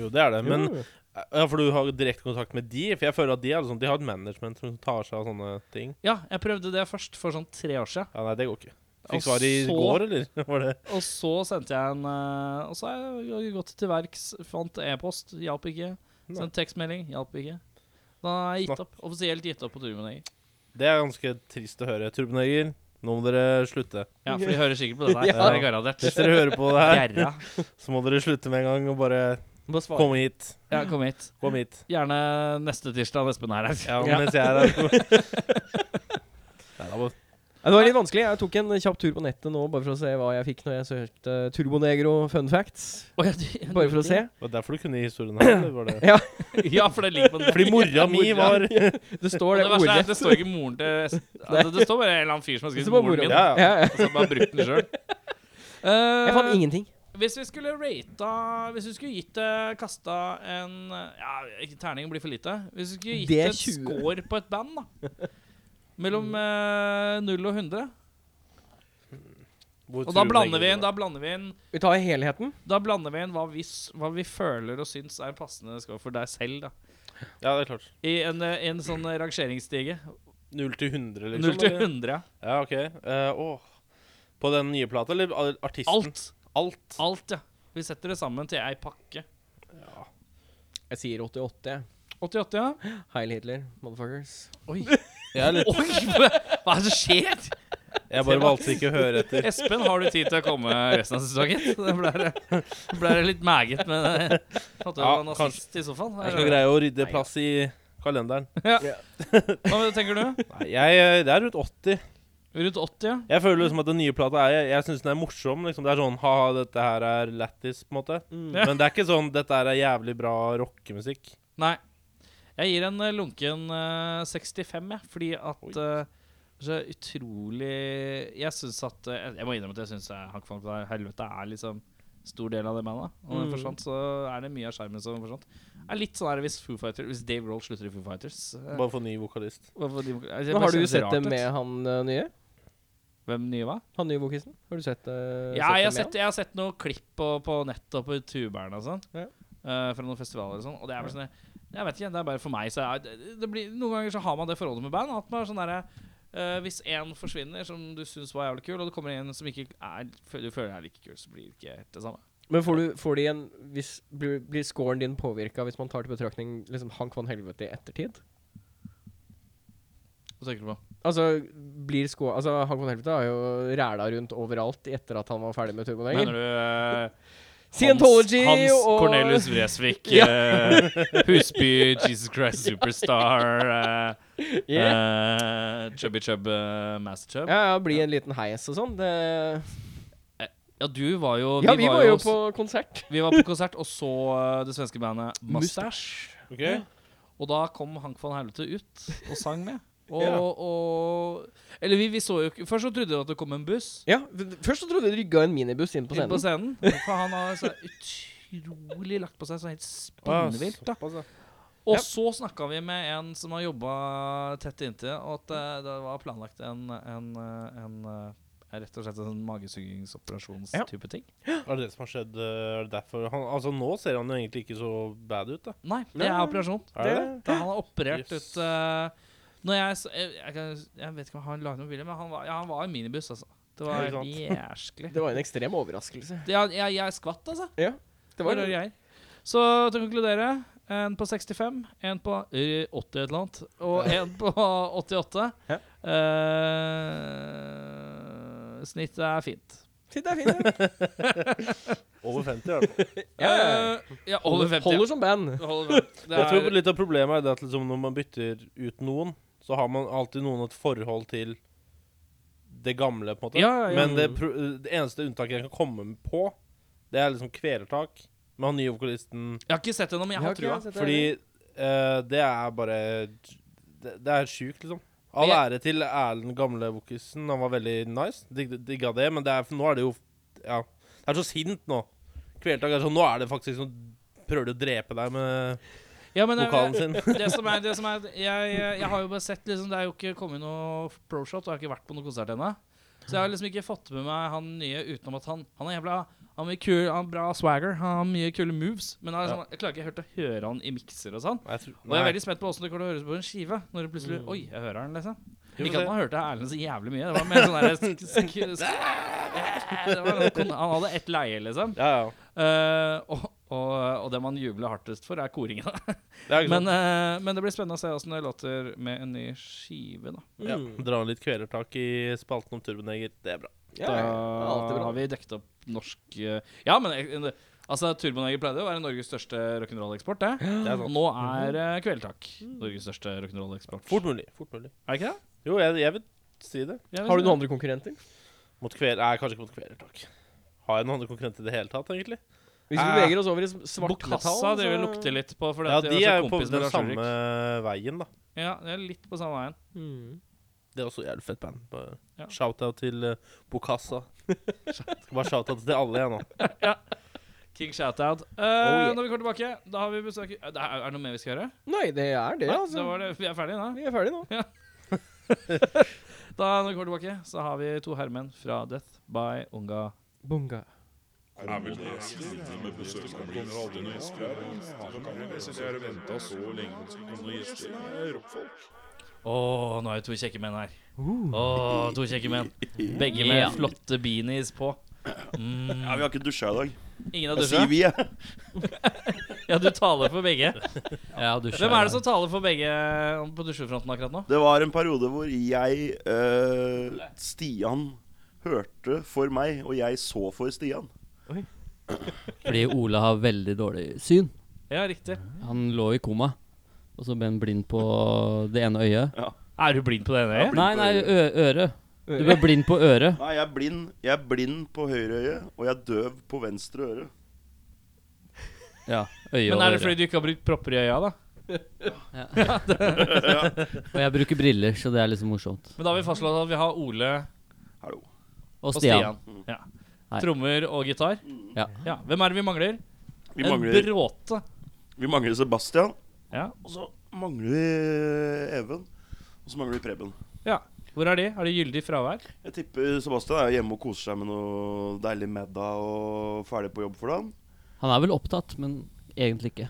Jo, det er det. Men eh,
Jo.
Ja, for du har direkte kontakt med de? For jeg føler at de, er sånn, de har et management som tar seg av sånne ting.
Ja, jeg prøvde det først for sånn tre år siden.
Ja, Nei, det går ikke.
Og
Fikk svar i
så-
går, eller? Var det?
Og så sendte jeg en eh, Og så har jeg gått til verks, fant e-post, hjalp ikke.
Nei.
Sendt tekstmelding, hjalp ikke. Da har jeg
Snakk.
gitt opp. Offisielt gitt opp på Turboneger.
Det er ganske trist å høre, Turboneger. Nå må dere slutte.
Ja, for de hører sikkert på dette her.
Ja.
Det er garantert.
Hvis dere hører på det her,
Gjerra.
så må dere slutte med en gang og bare
Bare svar.
komme hit.
Ja, kom hit.
Kom hit.
Gjerne neste tirsdag når Espen er her.
Ja, mens jeg er her. Nei, da må-
Ja, det var litt vanskelig. Jeg tok en kjapp tur på nettet nå bare for å se hva jeg fikk når jeg søkte Turbonegro fun facts.
Å, ja, du-
Bare for å se.
Var det derfor du kunne historien her? eller Var det?
Ja, for det ligger på den.
Fordi mora mi var
Det
Og
står
det,
det
verste er,
ordet.
at det står ikke moren til Espen. Altså, det står bare en eller annen fyr som har skrevet
Så bare
moren min.
Ja, ja.
Ja, ja.
Så bare brukt den sjøl. Eh,
Jeg fant ingenting.
Hvis vi skulle rata Hvis vi skulle gitt det kasta en Ja, ikke- terningen blir for lite. Hvis vi skulle gitt
Det er Mm.
et
20.
score på et band, da Mellom eh, 0 og 100. Og da blander vi inn Da blander vi inn
Vi tar helheten.
Da blander vi inn hva vi, s- hva vi føler og syns er passende score for deg selv. da
Ja, det er klart.
I en, eh, en sånn eh, rangeringsstige.
0 til 100,
0
liksom?
til
eller?
100. ja.
Ja, OK. Eh, åh. På den nye plata, eller al- artisten?
Alt.
Alt.
Alt, ja. Vi setter det sammen til ei pakke.
Jeg sier 88. jeg.
88, ja.
Heil Hitler, motherfuckers.
Oi.
Jeg, er litt,
Oi, hva er det som skjer?
jeg bare valgte ikke å høre etter.
Espen, har du tid til å komme resten av sesongen? Det ble, det ble litt meget med det. At du
Ja,
var nazist i sofaen.
Jeg skal greie å rydde plass i kalenderen.
Hva tenker du?
Nei, jeg, det er rundt 80.
Rundt 80, ja?
Jeg føler liksom at den nye plata er Jeg, jeg syns den er morsom. liksom Det er sånn ha-ha, dette her er lættis, på en måte.
Mm.
Ja.
Men det er ikke sånn dette her er jævlig bra rockemusikk.
Nei. Jeg gir en eh, lunken eh, 65, jeg, fordi at eh, så utrolig Jeg syns at eh, Jeg må innrømme at jeg syns Hakkfang fra helvete er liksom stor del av det bandet. Og når det
Mm.
forsvant, så er det mye av skjermen som forsvant. Det er litt sånn her hvis Foo Fighters Hvis Dave Roll slutter i Foo Fighters eh,
Bare for ny vokalist.
hvorfor de- jeg
Men
bare
har du
synes det
sett
er
det
rart ut.
med han eh, nye?
Hvem nye hva?
Han nye vokisten? Har du Eh, sett det?
Ja,
det
jeg har sett, jeg har sett noen klipp på, på nett og på youtuberen og sånn.
Ja.
eh, fra noen festivaler og sånn. Og det er bare sånn Jeg vet ikke, det er bare for meg. Så er, det, det blir, noen ganger så har man det forholdet med band. At man er sånn derre eh, Hvis en forsvinner som du syns var jævlig kul, og det kommer en som ikke er, fø- du føler er like kul, så blir det ikke helt det samme.
Men får, du, får de en hvis, blir, blir scoren din påvirka hvis man tar til betraktning liksom Hank van Helvete i ettertid?
Hva tenker du på?
Altså, blir score, altså Hank van Helvete har jo ræla rundt overalt etter at han var ferdig med
Mener
Turboneger.
du eh,
Scientology
Hans, Hans
og
Cornelius Vresvik,
Ja.
eh, Husby, Jesus Christ Superstar, eh,
Yeah.
eh, Chubby Chub, eh, Master Chub.
Ja, ja, bli en liten heis og sånn. Det
Ja, du var jo
Ja, vi var jo
også-
på konsert.
Vi var på konsert og så eh, det svenske bandet Mustache.
Ok?
Og da kom Hank van Helvete ut og sang med. Og,
Ja.
og Eller vi, vi så jo ikke Først så trodde vi at det kom en buss
Ja, f- Først så trodde jeg de rygga en minibuss inn på
inn på
scenen.
scenen. For han har så utrolig lagt på seg så helt
Ah,
spinnvilt. da.
såpass, ja.
Og
Ja.
så snakka vi med en som har jobba tett inntil, og at eh, det var planlagt en, en, eh, en, eh, Rett og slett en
Ja.
magesugingsoperasjonstype ting.
Er det det som har skjedd? eh, Er det derfor han, Altså, nå ser han jo egentlig ikke så bad ut, da.
Nei, det er
Nei.
operasjon.
Er det det?
Da han har operert ut
Yes.
eh, Når jeg, s- jeg, jeg, kan, jeg vet ikke om han lagde noen bilder, men han var, ja, han var en minibuss, altså. Det
Ja,
var
ikke sant?
jæsklig.
Det var en ekstrem overraskelse.
Ja, jeg, jeg skvatt, altså.
Ja, det var
Det var greier. Så til å konkludere en på 65, en på eh, 80 et eller annet, og en på 88.
Ja.
Eh, snittet er fint.
Sitt der, fin. ja.
Over 50, i hvert fall.
Ja, ja, ja.
Eh, ja over 50.
Holder som band.
ja. Holder 50. Det
Jeg tror
er,
litt av problemet er det at liksom når man bytter ut noen, så har man alltid noen et forhold til det gamle, på en måte.
Ja, ja, ja.
Men det, pro det eneste unntaket jeg kan komme på, det er liksom kvelertak med han nye vokalisten.
jeg har ikke sett det ennå, men jeg har trua.
Fordi eh, det er bare Det, det er sjukt, liksom. All
Men
ære til Erlend gamle vokisen. Han var veldig nice. Dig, digga det, men det er, nå er det jo Ja. Det er så sint nå. Kvelertak er sånn Nå er det faktisk sånn Prøver de å drepe deg med
Ja, men, eh,
vokalen sin?
det som er, det som er jeg, jeg har jo bare sett liksom, Det er jo ikke kommet noe proshot, og jeg har ikke vært på noen konsert ennå. Så jeg har liksom ikke fått med meg han nye utenom at han Han er jævla Han har mye kul, han har bra swagger, han har mye kule moves, men jeg, liksom, jeg klarer ikke helt å høre han i mikser og sånn.
Nei, jeg tror-
Og jeg er
nei.
veldig spent på åssen det kommer til å høres på en skive. Når det plutselig Oi, jeg hører han, liksom.
Vi får
Ikke
se.
at man hørte Erlend så jævlig mye. Det var mer sånn der sk- sk- sk- Det var noe kon- Han hadde ett leie, liksom.
Ja, ja.
Eh, og, Og, og det man jubler hardest for, er koringa.
Det er ikke sånn.
Men,
sant?
eh, men det blir spennende å se åssen det låter med en ny skive, da.
ja.
Mm.
Mm. Dra en litt kvelertak i spalten om Turboneger. Det er bra.
Ja,
da
ja, alltid bra.
har vi dekket opp norsk eh, Ja, men eh, altså, Turboneger pleide å være Norges største rock'n'roll-eksport, det.
Det er
Og
sant.
nå er eh, Kvelertak Norges største rock'n'roll-eksport.
Fort mulig. Fort mulig.
Er det ikke det?
Jo, jeg, jeg vil si det.
Jeg vet
Har du
ikke.
noen andre konkurrenter?
Mot kveler... Nei, kanskje ikke mot kvelertak. Har jeg noen andre konkurrenter i det hele tatt, egentlig?
Hvis vi
Eh,
beveger oss over i s- svart metall
Bokassa driver og
så-
lukter litt på, fordi
Ja,
at
de er jo på
kompis med
den
Lars Ulrik.
samme veien, da.
Ja, de er litt på samme veien.
Mm.
Det er også jævlig fett band. Bare
Ja.
Shout-out til eh, Bokassa. Skal Bare shout-out til alle, jeg nå.
King shout-out. Eh,
yeah.
Når vi kommer tilbake, da har vi besøk Eh, det er, er det noe mer vi skal gjøre?
Nei, det er det,
Nei,
altså.
Da var det, vi er ferdige nå.
Vi er ferdige nå.
Da når vi kommer tilbake, så har vi to herremenn fra Death by Unga.
Bunga.
Er vel det siste med besøkskontrollen? Jeg syns jeg har venta så lenge på noen gjester. Rockfolk.
Å, nå er det to kjekke menn her. Å, to kjekke menn. Begge med flotte beanies på. Mm.
Ja, Vi har ikke dusja i dag.
Ingen har
Jeg
dusja?
sier vi, jeg.
Ja, du taler for begge.
Ja, du
Hvem er det som taler for begge um, på dusjefronten akkurat nå?
Det var en periode hvor jeg, eh, Stian, hørte for meg, og jeg så for Stian.
Fordi Ola har veldig dårlig syn.
Ja, riktig.
Han lå i koma, og så ble han blind på det ene øyet.
Er du blind på det ene øyet?
Nei, nei, ø øret. Du ble blind på øret.
Nei, jeg er blind. Jeg er blind på høyre øye, og jeg er døv på venstre øre.
Ja, øyet
Men
og
er det fordi
øret.
du ikke har brukt propper i øya, da?
Og jeg bruker briller, så det er liksom morsomt.
Men da har vi fastslått at vi har Ole
Hallo.
Og
og
Stian.
Stian. Ja.
Nei.
Trommer og gitar.
Ja.
Ja. Hvem er det vi mangler?
Vi mangler,
En bråte.
vi mangler Sebastian,
Ja.
og så mangler vi eh, Even. Og så mangler vi Preben.
ja. Hvor er de? Har de gyldig fravær?
Jeg tipper Sebastian er hjemme og koser seg med noe deilig middag og ferdig på jobb for dagen.
Han er vel opptatt, men egentlig ikke.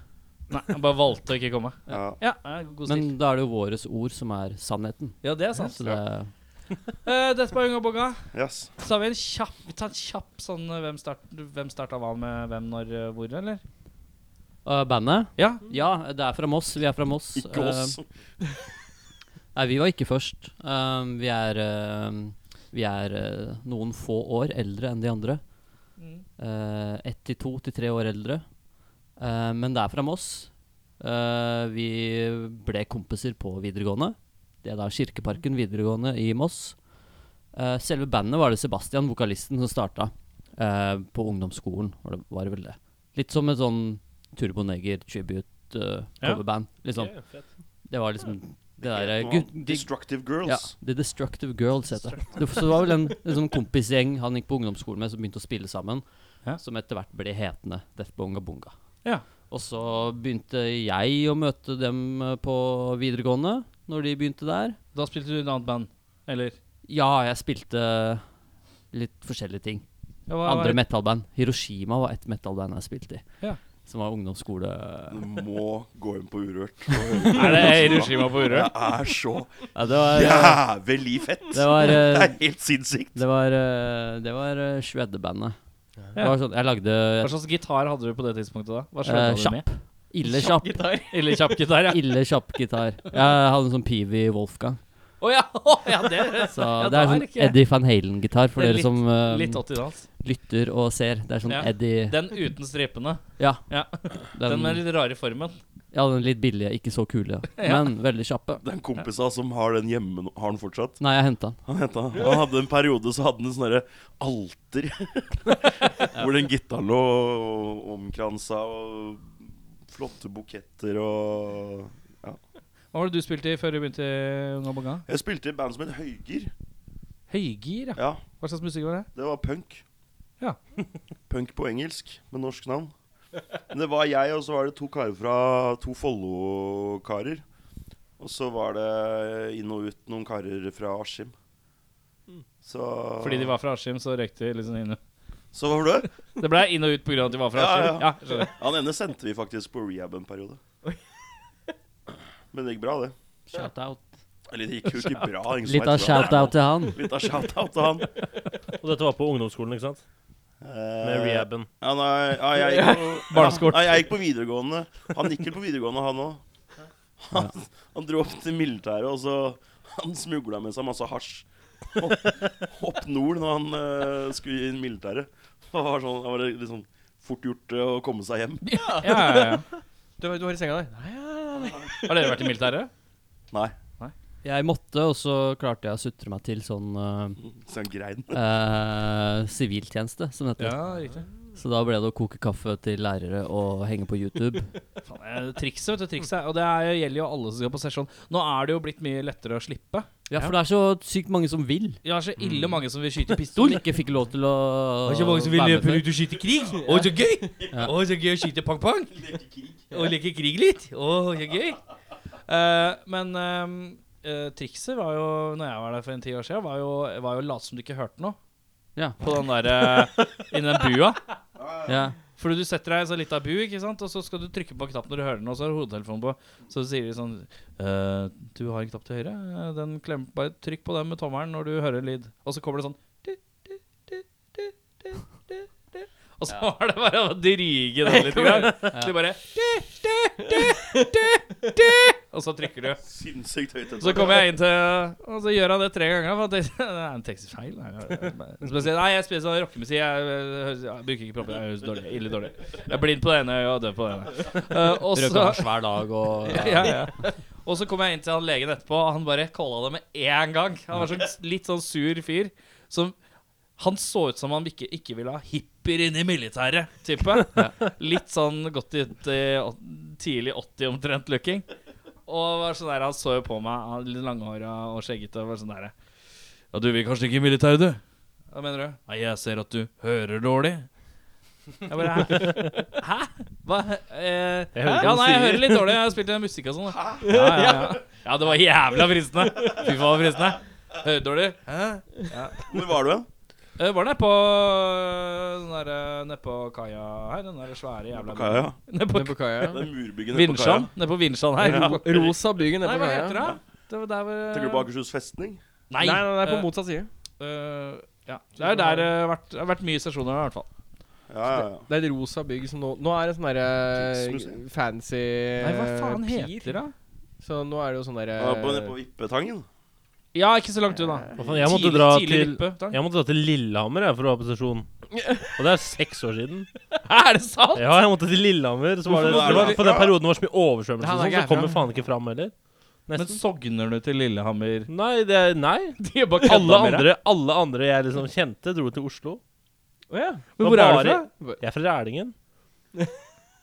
Nei, han bare valgte å ikke komme.
Ja.
Ja, Eh, ja, god stil.
Men da er det jo våres ord som er sannheten.
Ja, det er sant.
Så det er
Eh, dette var Unga Bonga.
Yes.
Så har vi en kjapp, vi tar en kjapp sånn eh, hvem, start, hvem starta hva med hvem, når, eh, hvor, eller?
Og Bandet?
Ja.
Ja, det er fra Moss. Vi er fra Moss.
Ikke oss.
Eh, Nei, vi var ikke først. Um, vi er, um, vi er uh, noen få år eldre enn de andre.
Mm.
Uh, ett til to til tre år eldre. Uh, men det er fra Moss. Uh, vi ble kompiser på videregående. Det er da Kirkeparken videregående i Moss. Uh, selve bandet var det Sebastian, vokalisten, som starta. Uh, på ungdomsskolen var det, var det vel det. Litt som et sånn
Ja.
turboneger-tribute-coverband. eh, liksom.
Ok, fett.
Det var liksom det derre
Noe
gut-
annet.
de-
Destructive
ja,
Girls.
The Destructive Girls heter det. det. Så det var vel en, en sånn kompisgjeng han gikk på ungdomsskolen med, som begynte å spille sammen.
Ja.
Som etter hvert ble hetende Death Bonga Bonga.
Ja.
Og så begynte jeg å møte dem eh, på videregående, når de begynte der.
Da spilte du i et annet band. Eller?
Ja, jeg spilte litt forskjellige ting.
Ja, hva- hva-
Andre metalband. Hiroshima var et metalband jeg spilte i.
Ja.
Som var ungdomsskole...
Du må gå inn på Urørt.
Er det Hiroshima på
Det
Urørt?
er så
Ja, det var, eh,
jævlig fett!
det var
Det
eh,
er helt sinnssykt.
Det var, eh, det var eh, shreddebandet. Det
Ja.
var sånn, jeg lagde
Hva slags gitar hadde du på det tidspunktet, da? Hva
eh,
sløyta du med?
kjapp. Ille kjapp.
Eller kjapp gitar, ja.
Ille kjapp gitar. Jeg hadde en sånn Peavy Wolfgang.
Å ja. å ja, det
Så
Ja,
det
da
er
er
sånn
det ikke-
Eddie Van Halen-gitar for
Det er
dere som eh,
Litt 80-dans.
lytter og ser. Det er sånn
Ja.
Eddie
Den uten stripene.
Ja.
Ja. Den,
Den,
med den litt rare formen.
ja, den litt billige, ikke så kule, ja. men veldig kjappe.
Det er en kompis av oss som har den hjemme nå. Har den fortsatt?
Nei, jeg henta den.
Han, henta, han hadde en periode så hadde han en sånn derre alter hvor den gitaren lå og omkransa og flotte buketter og
Hva var det du spilte i før du begynte i Unga Bonga?
Jeg spilte i et band som het Høygir.
Høygir, ja.
Ja,
Hva slags musikk var det?
det var punk.
Ja.
Punk på engelsk med norsk navn. Men det var jeg, og så var det to karer fra To Follo-karer. Og så var det inn og ut noen karer fra Askim. Så
Fordi de var fra Askim, så røyk de liksom inn.
Så hva var det?
Det ble inn og ut pga. at de var fra
Ja,
Askim. Ja,
ja.
skjønner.
Han ene sendte vi faktisk på rehab en periode. Men det gikk bra, det.
Shout-out.
Eller det gikk jo ikke bra. ingen som
Litt
vet hva det
av
er.
shout-out til han.
Litt av shout-out til han.
Og dette var på ungdomsskolen, ikke sant? med rehaben.
Ja, nei, ja, jeg, gikk på,
Barneskort.
Nei, jeg gikk på videregående. Han gikk vel på videregående, han òg. Han, han dro opp til militæret, og så Han smugla med seg masse hasj opp, opp nord når han eh, skulle inn i militæret. Det var, sånn, det var liksom fort gjort eh, å komme seg hjem.
Ja, ja, ja.
Du, du har i senga der? Nei, ja, nei, nei.
Har dere vært i militæret?
Nei,
Jeg måtte, og så klarte jeg å sutre meg til sånn
så han grein.
eh, eh, siviltjeneste, som det heter.
riktig.
Så da ble det å koke kaffe til lærere og henge på YouTube.
Faen, eh, trikset, vet du, trikset Og det er, gjelder jo alle som skal på sesjon. Nå er det jo blitt mye lettere å slippe.
Ja, for det er så sykt mange som vil.
Jeg har så ille mange som vil skyte
Som
pistol.
ikke fikk lov til å
ut og skyte krig. Å, så gøy! Å, så gøy å skyte pang-pang. Og leke krig litt. Å, så gøy. Eh, men eh, eh, trikset var jo, når jeg var der for en ti år siden, var jo, var jo å late som du ikke hørte noe.
Ja.
På den der uh, Inni den bua.
Ja.
Fordi du setter deg i en sånn lita bu, ikke sant? og så skal du trykke på en knapp når du hører den, og så har du hodetelefonen på. Så sier de sånn «Eh, Du har en knapp til høyre. eh, Den klem, bare trykk på den med tommelen når du hører lyd. Og så kommer det sånn «Du, du, du, du, du, du, du». Og så var det bare å dryge den litt. Grann. Så du bare «Du, du, du, du, du». Og så trykker du.
Sinnssykt høyt.
Så kommer jeg inn til Og så gjør han det tre ganger. For at det, det er en tekstfeil. Nei, spesielt, nei, jeg spiller sånn rockemusikk. Jeg, eh, høres- jeg bruker ikke propper. Jeg høres dårlig, ille dårlig. Jeg er blind på det ene øyet og døv på det ene. Eh, og
Røyka
så-
hasj hver dag og
ja, ja. Og så kom jeg inn til han legen etterpå, og han bare calla det med én gang. Han var sånn litt sånn sur fyr. Som Han så ut som han ikke, ikke ville ha hippier inn i militæret, type. Litt sånn godt ut i åt- tidlig 80 omtrent looking. Og var sånn der, han så jo på meg, han litt langhåra og skjeggete, og var sånn derre Ja, du vil kanskje ikke i militæret, du? Hva mener du? Nei, jeg ser at du hører dårlig. Jeg bare Hæ? Hæ? Hva? Eh,
hører
ja,
hva du
nei, jeg
sier.
hører litt dårlig. Jeg har spilt litt musikk og sånn. da. Ja, ja, ja. ja, det var jævla fristende. Fy faen, fristende. Hører dårlig. Hæ?
Hvor var du hen?
Eh, var nedpå eh, den derre Nedpå kaia her. Den der svære jævla
På kaia? ja.
Nedpå
Nede på kaia.
Det er murbyggen nede på kaia.
Vinsjan. Nedpå Vinsjan her.
Ro- Rosa bygge nede
Nei,
på
hva
kaia.
heter det? Det var der hvor
Tenker du på Akershus festning?
Nei.
Nei, nei, nei, på
Eh,
motsatt side.
eh, ja. Det er jo der det har vært, det har vært mye sesjoner, i hvert fall.
Ja, ja, ja.
Det er et rosa bygg som nå Nå er det sånn derre
Krigsmuseum.
fancy
Nei, hva faen
eh,
heter det?
Så nå er det jo sånn derre
Ja, på- Nede på Vippetangen?
Ja, ikke så langt unna.
Hva faen, jeg måtte
Tidlig-
dra
tidlig
til-
vippe, takk.
Jeg måtte dra til Lillehammer jeg, for å være på sesjon. Og det er seks år siden.
Er det sant?
Ja, jeg måtte til Lillehammer. Så var det, det var, på den perioden det var så mye oversvømmelse, og sånn, så kom jeg faen ikke fram heller.
Men
Nesten.
sogner du til Lillehammer?
Nei, det er, nei.
De er bare kødda
Alle
med deg.
andre, alle andre jeg liksom kjente, dro til Oslo.
Å ja.
Men
hvor er du
fra?
Jeg er fra Rælingen.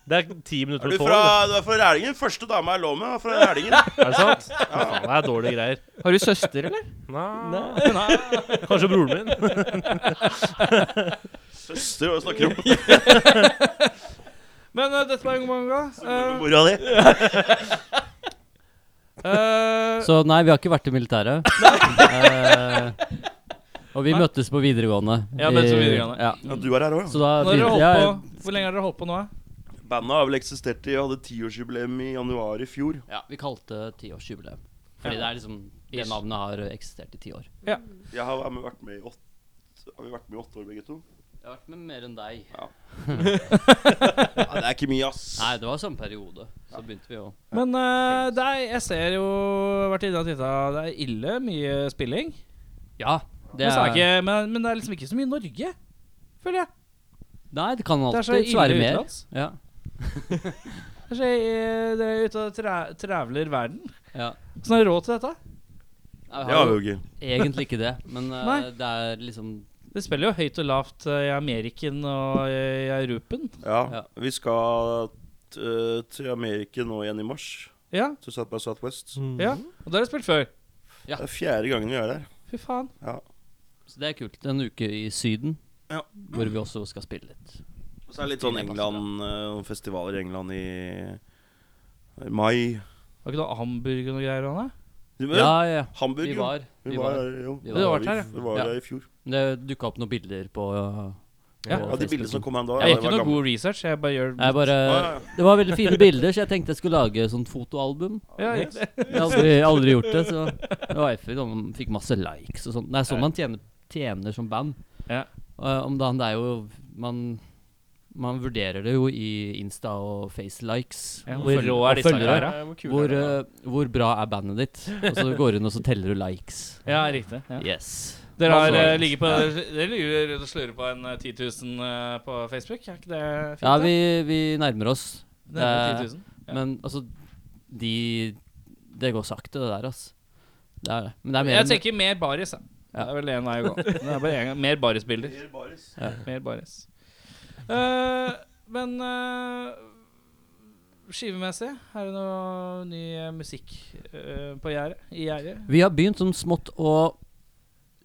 Det er ti
Er
minutter
du
på
fra,
tolv.
du er fra Rælingen? Første dama jeg lå med, var fra Rælingen.
det. Er det sant? Faen, det er dårlige greier.
Har du søster, eller?
Nei.
Nei.
Kanskje broren min.
Søster, hva snakker du om?
Men eh, dette var en god gang. Eh,
Mora di?
Så nei, vi har ikke vært i militæret. Eh, og vi møttes på videregående.
Ja, møttes på
I-
videregående.
Ja.
Ja, du er her òg, ja.
Så da
eh, Når har dere
begynte
holdt
jeg
på, hvor lenge har dere holdt på nå? eh?
Bandet har vel eksistert i hadde tiårsjubileum i januar i fjor.
Ja, vi kalte tiårsjubileum. Fordi det er liksom Det navnet har eksistert i ti år.
Jeg har vært med, vært med i åtte Har vi vært med i åtte år, begge to?
Jeg har vært med mer enn deg.
Ja, det er ikke mye, ass.
Nei, det var samme periode. Så begynte vi å
Men eh, det er, jeg ser jo vært inne og titta. Det er ille mye spilling.
Ja. Det
Men, så er
er,
ikke, men, men det er liksom ikke så mye Norge, føler jeg.
nei, det kan
Det er så
alltids være
ille
mer.
utenlands.
Ja.
Det er, så, eh, dere er ute og tra trævler verden.
ja.
Hvordan har dere råd til dette?
Jeg
Ja,
har jo
Hauge.
egentlig ikke det, men eh,
Nei.
det er liksom
Det spiller jo høyt og lavt eh, i Ameriken og i Europen.
Ja,
Ja.
vi skal t- eh, til Amerika nå igjen i mars.
Ja,
Til South by Southwest.
ja. Og da har dere spilt før.
Det er fjerde gangen vi er der.
Fy faen.
Ja.
Så det er kult. En uke i Syden,
Ja.
hvor vi også skal spille litt.
Og så er det litt sånn England, eh, festivaler i England i i mai.
Var ikke noe hamburger og noe greier? Anne?
Du, vet,
Ja, ja.
Hamburg,
Vi
jo.
var.
Vi var der, jo. Vi
Vi var-
var
Vi var
der,
der,
i- vi var
ja.
der i fjor.
Det dukka opp noen bilder på uh,
Ja.
på
Ja, de bildene som
Facebooken.
kom her da,
Jeg gjør
ja, det
ikke
var
noe
gamle.
god research. Jeg bare gjør
Jeg bare,
Ja, ja.
det var veldig fine bilder, så jeg tenkte jeg skulle lage sånn fotoalbum.
ja, riktig.
Jeg har aldri, aldri gjort det, så det var jeg som fikk masse likes og sånn. Det er sånn man tjener, tjener som band.
Ja.
Og, eh, om dagen, det er jo man, man vurderer det jo i Insta og Face-likes.
Ja,
hvor-
hvor rå er
og
disse
følgere.
greiene?
Hvor kul
Hvor,
er det, da?
eh, hvor bra er bandet ditt? Og så går du inn og så teller du likes.
Ja, riktig. Ja.
Yes.
Dere har
Altså-
eh, ligget på Dere ligger rundt og slurer på en eh, 10 000 eh, på Facebook. Er ikke det fint?
Ja,
da?
vi, vi nærmer oss.
Det er
eh,
10 000. Ja.
Men altså De Det går sakte, det der, altså. Det er det. Men det er mer
Jeg
enn-
tenker mer baris, jeg. Det er vel en vei å gå. Det er bare en gang. Mer barisbilder. Mer baris. Eh, men eh, skivemessig, er det noe ny eh, musikk eh, på gjerdet? I gjerdet?
Vi har begynt sånn smått å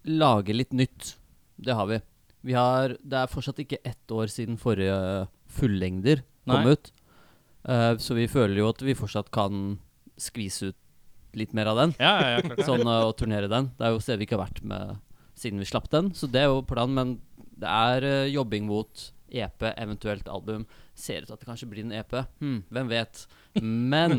lage litt nytt. Det har vi. Vi har Det er fortsatt ikke ett år siden forrige fullengder kom
Nei.
ut. Eh, så vi føler jo at vi fortsatt kan skvise ut litt mer av den.
Ja, ja, ja, klart.
sånn eh, å turnere den. Det er jo steder vi ikke har vært med siden vi slapp den, så det er jo planen. Men det er eh, jobbing mot EP, eventuelt album. Ser ut til at det kanskje blir en EP. Hmm, hvem vet? Men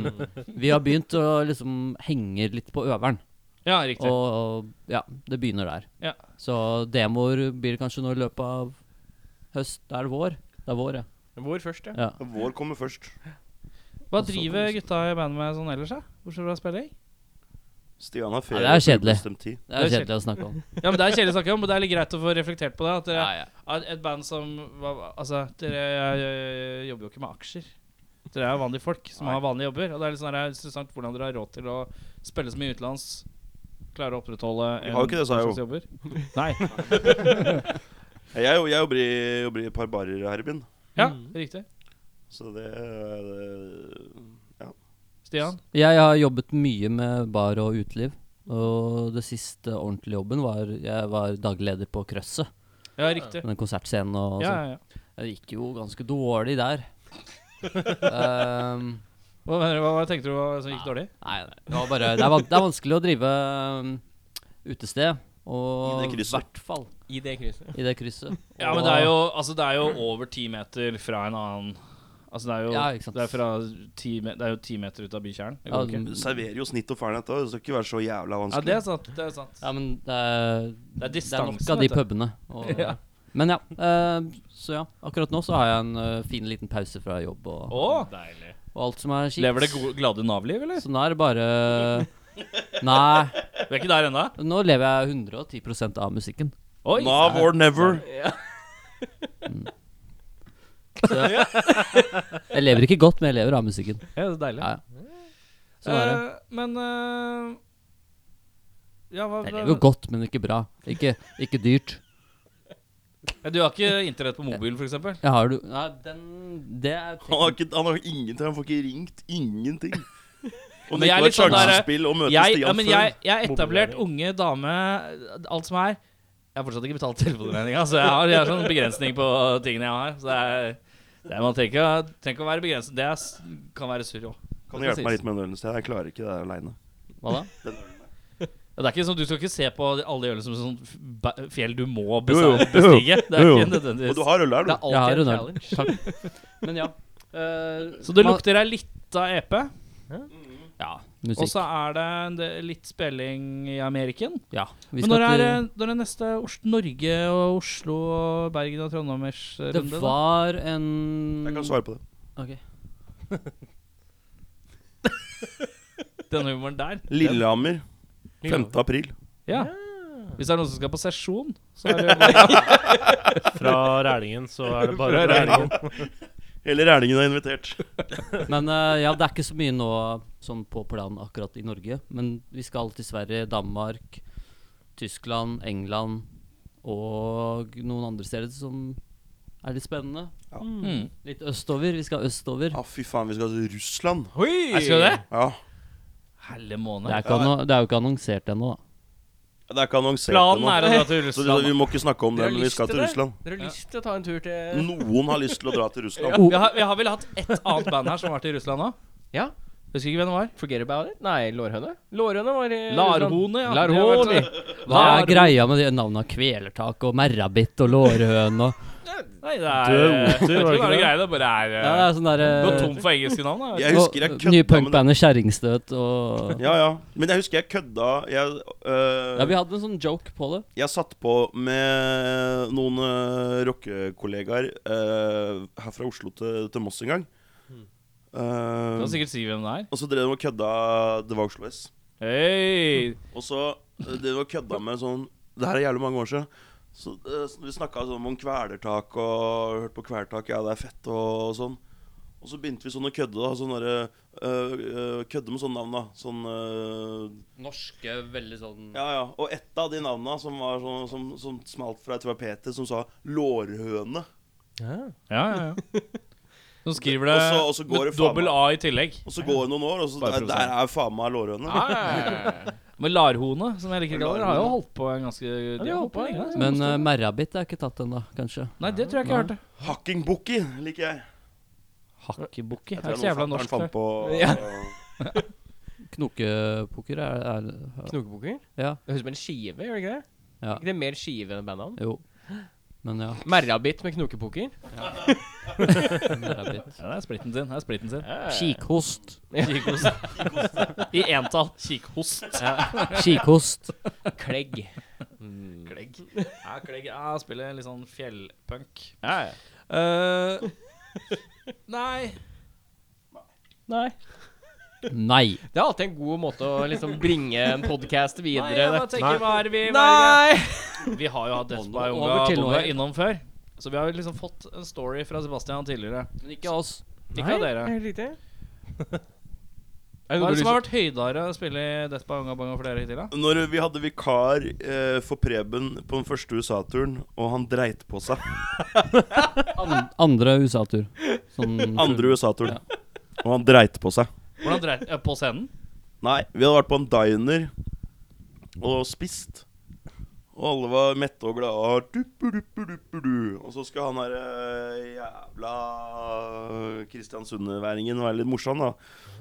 vi har begynt å liksom henge litt på øveren,
ja riktig.
og, og ja, det begynner der.
Ja.
Så demoer blir det kanskje nå i løpet av høst. Da er det vår. Det er vår, ja.
eh,
Hvor først, ja.
ja.
Vår kommer først.
Hva driver gutta i bandet med sånn ellers, da? Bortsett fra spilling?
Stian har ferie.
Ja, det er
på
kjedelig.
ubestemt tid.
Det er
Det er
kjedelig å snakke om.
Ja, men Det er kjedelig å snakke om, men det er litt greit å få reflektert på det. At dere
Ja, ja.
er et band som hva- Altså, dere eh, jobber jo ikke med aksjer. Dere er jo vanlige folk som har vanlige jobber. Og det er litt sånn her interessant hvordan dere har råd til å spille så mye utenlands. Klare å opprettholde
Vi har jo ikke det, sa jeg jo.
slags jobber. Nei.
Jeg, og- jeg jobber, i, jobber i et par barer her i byen.
Ja, riktig.
Så det, det
Stian?
Jeg har jobbet mye med bar og uteliv. Og det siste ordentlige jobben var jeg var daglig leder på Krøsset.
Ja, riktig.
Den konsertscenen og
Ja,
sånn.
ja, ja.
Det gikk jo ganske dårlig der. Ehm,
Hva, mener du, hva, hva tenkte du var, som gikk dårlig?
nei, nei, det var bare Det er, van det er vanskelig å drive um, utested.
I
Og i
det krysset.
hvert fall
I det krysset.
i det krysset.
Ja, men det er jo, altså, det er jo over ti meter fra en annen Altså, det er jo,
Ja, ikke sant.
det er fra ti, me det er jo ti meter ut av bykjernen. Det
Ja,
går ikke.
Du serverer jo snitt og fernet da. Det skal ikke være så jævla
Ja, det
vanskelig.
er sant. Det er sant.
Ja, men det er,
Det er
nok
distansen,
av de
vet
pubene. Og,
Ja.
Men ja. ehm, så ja, akkurat nå så har jeg en øh, fin liten pause fra jobb og,
Å, deilig.
og alt som er kjipt.
Lever det go- glade Nav-liv, eller?
Så nå er det bare Nei,
Du er ikke der ennå?
nå lever jeg 110 av musikken.
Oi!
Nav or never.
Så jeg lever ikke godt, men jeg lever av musikken.
Ja, det er deilig.
Ja, Sånn er det.
Eh, men eh, ja, hva,
Jeg lever jo godt, men ikke bra. Ikke, ikke dyrt.
Ja, Du har ikke internett på mobilen, for eksempel?
Jeg har du Nei, den Det er
Han har, ikke, han har ingenting. Han får ikke ringt. Ingenting. Og
Men
det
jeg er
ikke var
litt sånn der-
sjansespill å møte
Jeg,
Stian
ja, men
før.
jeg, jeg er etablert unge dame, alt som er. Jeg har fortsatt ikke betalt telefonregninga, så jeg har, jeg har sånn begrensning på tingene jeg har. Så det er, det er man trenger ikke- trenger ikke å være begrenset. Det er, s- kan være surr òg.
Kan du hjelpe meg litt med den ølen? Stian? Jeg klarer ikke det aleine.
Hva da?
Ja, det er ikke sånn, Du skal ikke se på alle de ølene som sånn f- ba- fjell du må bes-
Jo, jo, jo.
bestige. Det er
Jo, jo.
ikke nødvendigvis
Og du har øl her,
Det er
du.
Jeg har
alltid en
en øl.
challenge.
Takk. Men ja. eh,
Så det
man-
lukter ei lita EP,
Ja,
E og
musikk.
så er det en del, litt spilling i Ameriken.
Ja. Vi
Men når
skal
er,
til
det- når er neste Os Norge og Oslo og Bergen og Trondheimers eh, runde?
Det
da?
var
Jeg kan
en
svare på det.
Ok.
Den humoren der.
Lillehammer. 5. april.
Ja. Hvis det er noen som skal på sesjon, så er det bare
Fra Rælingen, så er det bare
Fra Rælingen.
Rælingen.
Hele Rælingen er invitert.
Men eh, ja, det er ikke så mye nå sånn på planen akkurat i Norge. Men vi skal til Sverige, Danmark, Tyskland, England og noen andre steder som er litt spennende.
mm.
Litt østover. Vi skal østover.
Ja, Ah, fy faen, vi skal til Russland.
Er skal det?
Ja.
Helle
Det
måned.
er, ikke anno- det er jo ikke annonsert ennå, da.
Det er ikke annonsert
Planen
ennå.
er å dra til
Så det, vi
Russland.
må ikke snakke om
Dere
det,
har
men vi
lyst
skal til
det?
Russland.
Dere har lyst til å ta en tur
Mm.
til
Noen har lyst til å dra til Russland.
Vi har, vi har vel hatt ett annet band her som har vært i Russland òg.
Ja.
Husker ikke hvem det var.
Forget about it? Nei, Lårhøne. Lårhøne var i
Larhone, ja.
Larhone.
Det har vært-
Hva er greia med de navnene Kvelertak og Merrabit og Lårhøn og
Nei, det er
Død
eh,
oter,
jeg tror
var det
det
ikke
er
det?
greia. Det bare er
Ja, det
eh,
er sånn der
Du går
eh,
tom for engelske navn, da.
Jeg husker jeg
og
kødda
Nye
med
punkbandet Kjerringstøt og
Ja, ja. Men jeg husker jeg kødda Jeg, øh,
Ja, vi hadde en sånn joke på det.
jeg satt på med noen øh, rockekollegaer øh, her fra Oslo til, til Moss en gang.
Du
Eh,
kan sikkert si hvem Hmm. det er.
og så drev de og kødda Det var Oslo S.
Hei!
Og så eh, det var kødda med sånn Det her er jævlig mange år siden. Så, eh, så vi snakka sånn om kvelertak og hørt på kvelertak, ja, det er fett og, og sånn. Og så begynte vi sånn å kødde, da. Sånn derre eh, eh, Kødde med sånne navn, da. Sånn eh,
Norske, veldig sånn
Ja, ja. Og ett av de navna som, var sånn, som, som smalt fra, jeg tror det var Peter, som sa lårhøne.
Ja, ja, ja. Så skriver
Og så- og så
det
går
med
det faen
dobbel
meg.
A i tillegg.
Og så går det noen år, og så
Bare
der, der er faen meg lårhøne.
Ja, ja, ja, ja. Men Larhone, som jeg liker å kalle det, har jo holdt på en ganske De har holdt på lenge. altså.
Men uh, merrabit er ikke tatt ennå, kanskje.
Nei, det tror jeg ikke jeg hørte.
Hakkingbukki liker jeg.
Hakkebukki.
Jeg
Det er
tror
ikke så jævla
noen
norsk.
fatteren
det.
fant på
Knokepoker er, er
Knokepoker?
Ja.
Det høres ut som en skive, gjør det ikke det?
Ja.
Ikke det mer skive enn bandnavn?
Jo. Men ja.
Merrabit med knokepoker?
Merrabit.
Ja, det er splitten sin. Det er splitten sin.
Kikhost.
Kikhost. I entall. Kikhost.
Kikhost.
Klegg.
Klegg. Ja, Klegg ja, spiller litt sånn fjellpunk. Ja, ja. Eh, nei. Nei.
Nei.
Det er alltid en god måte å liksom bringe en podkast
Nei, jeg
videre.
bare tenker, hva er det vi hva er det
Nei!
vi- Vi har jo hatt Death by
Over
Unga
til
Bonga
noe.
innom før. Så vi har jo liksom fått en story fra Sebastian tidligere.
Men ikke oss.
Ikke av dere.
Helt riktig.
Hva er det som har vært høydere å spille i Death by Unga Bonga for dere hittil, da?
Når vi hadde vikar eh, for Preben på den første USA-turen, og han dreit på seg
An andre USA-tur. Sånn
Andre USA-turen. Og han dreit på seg.
Hvordan dreit eh, På scenen?
Nei, vi hadde vært på en diner og spist. Og alle var mette og glade. Duppu-duppu-duppu-du. Og så skal han her eh, jævla Kristiansundeværingen være litt morsom, da.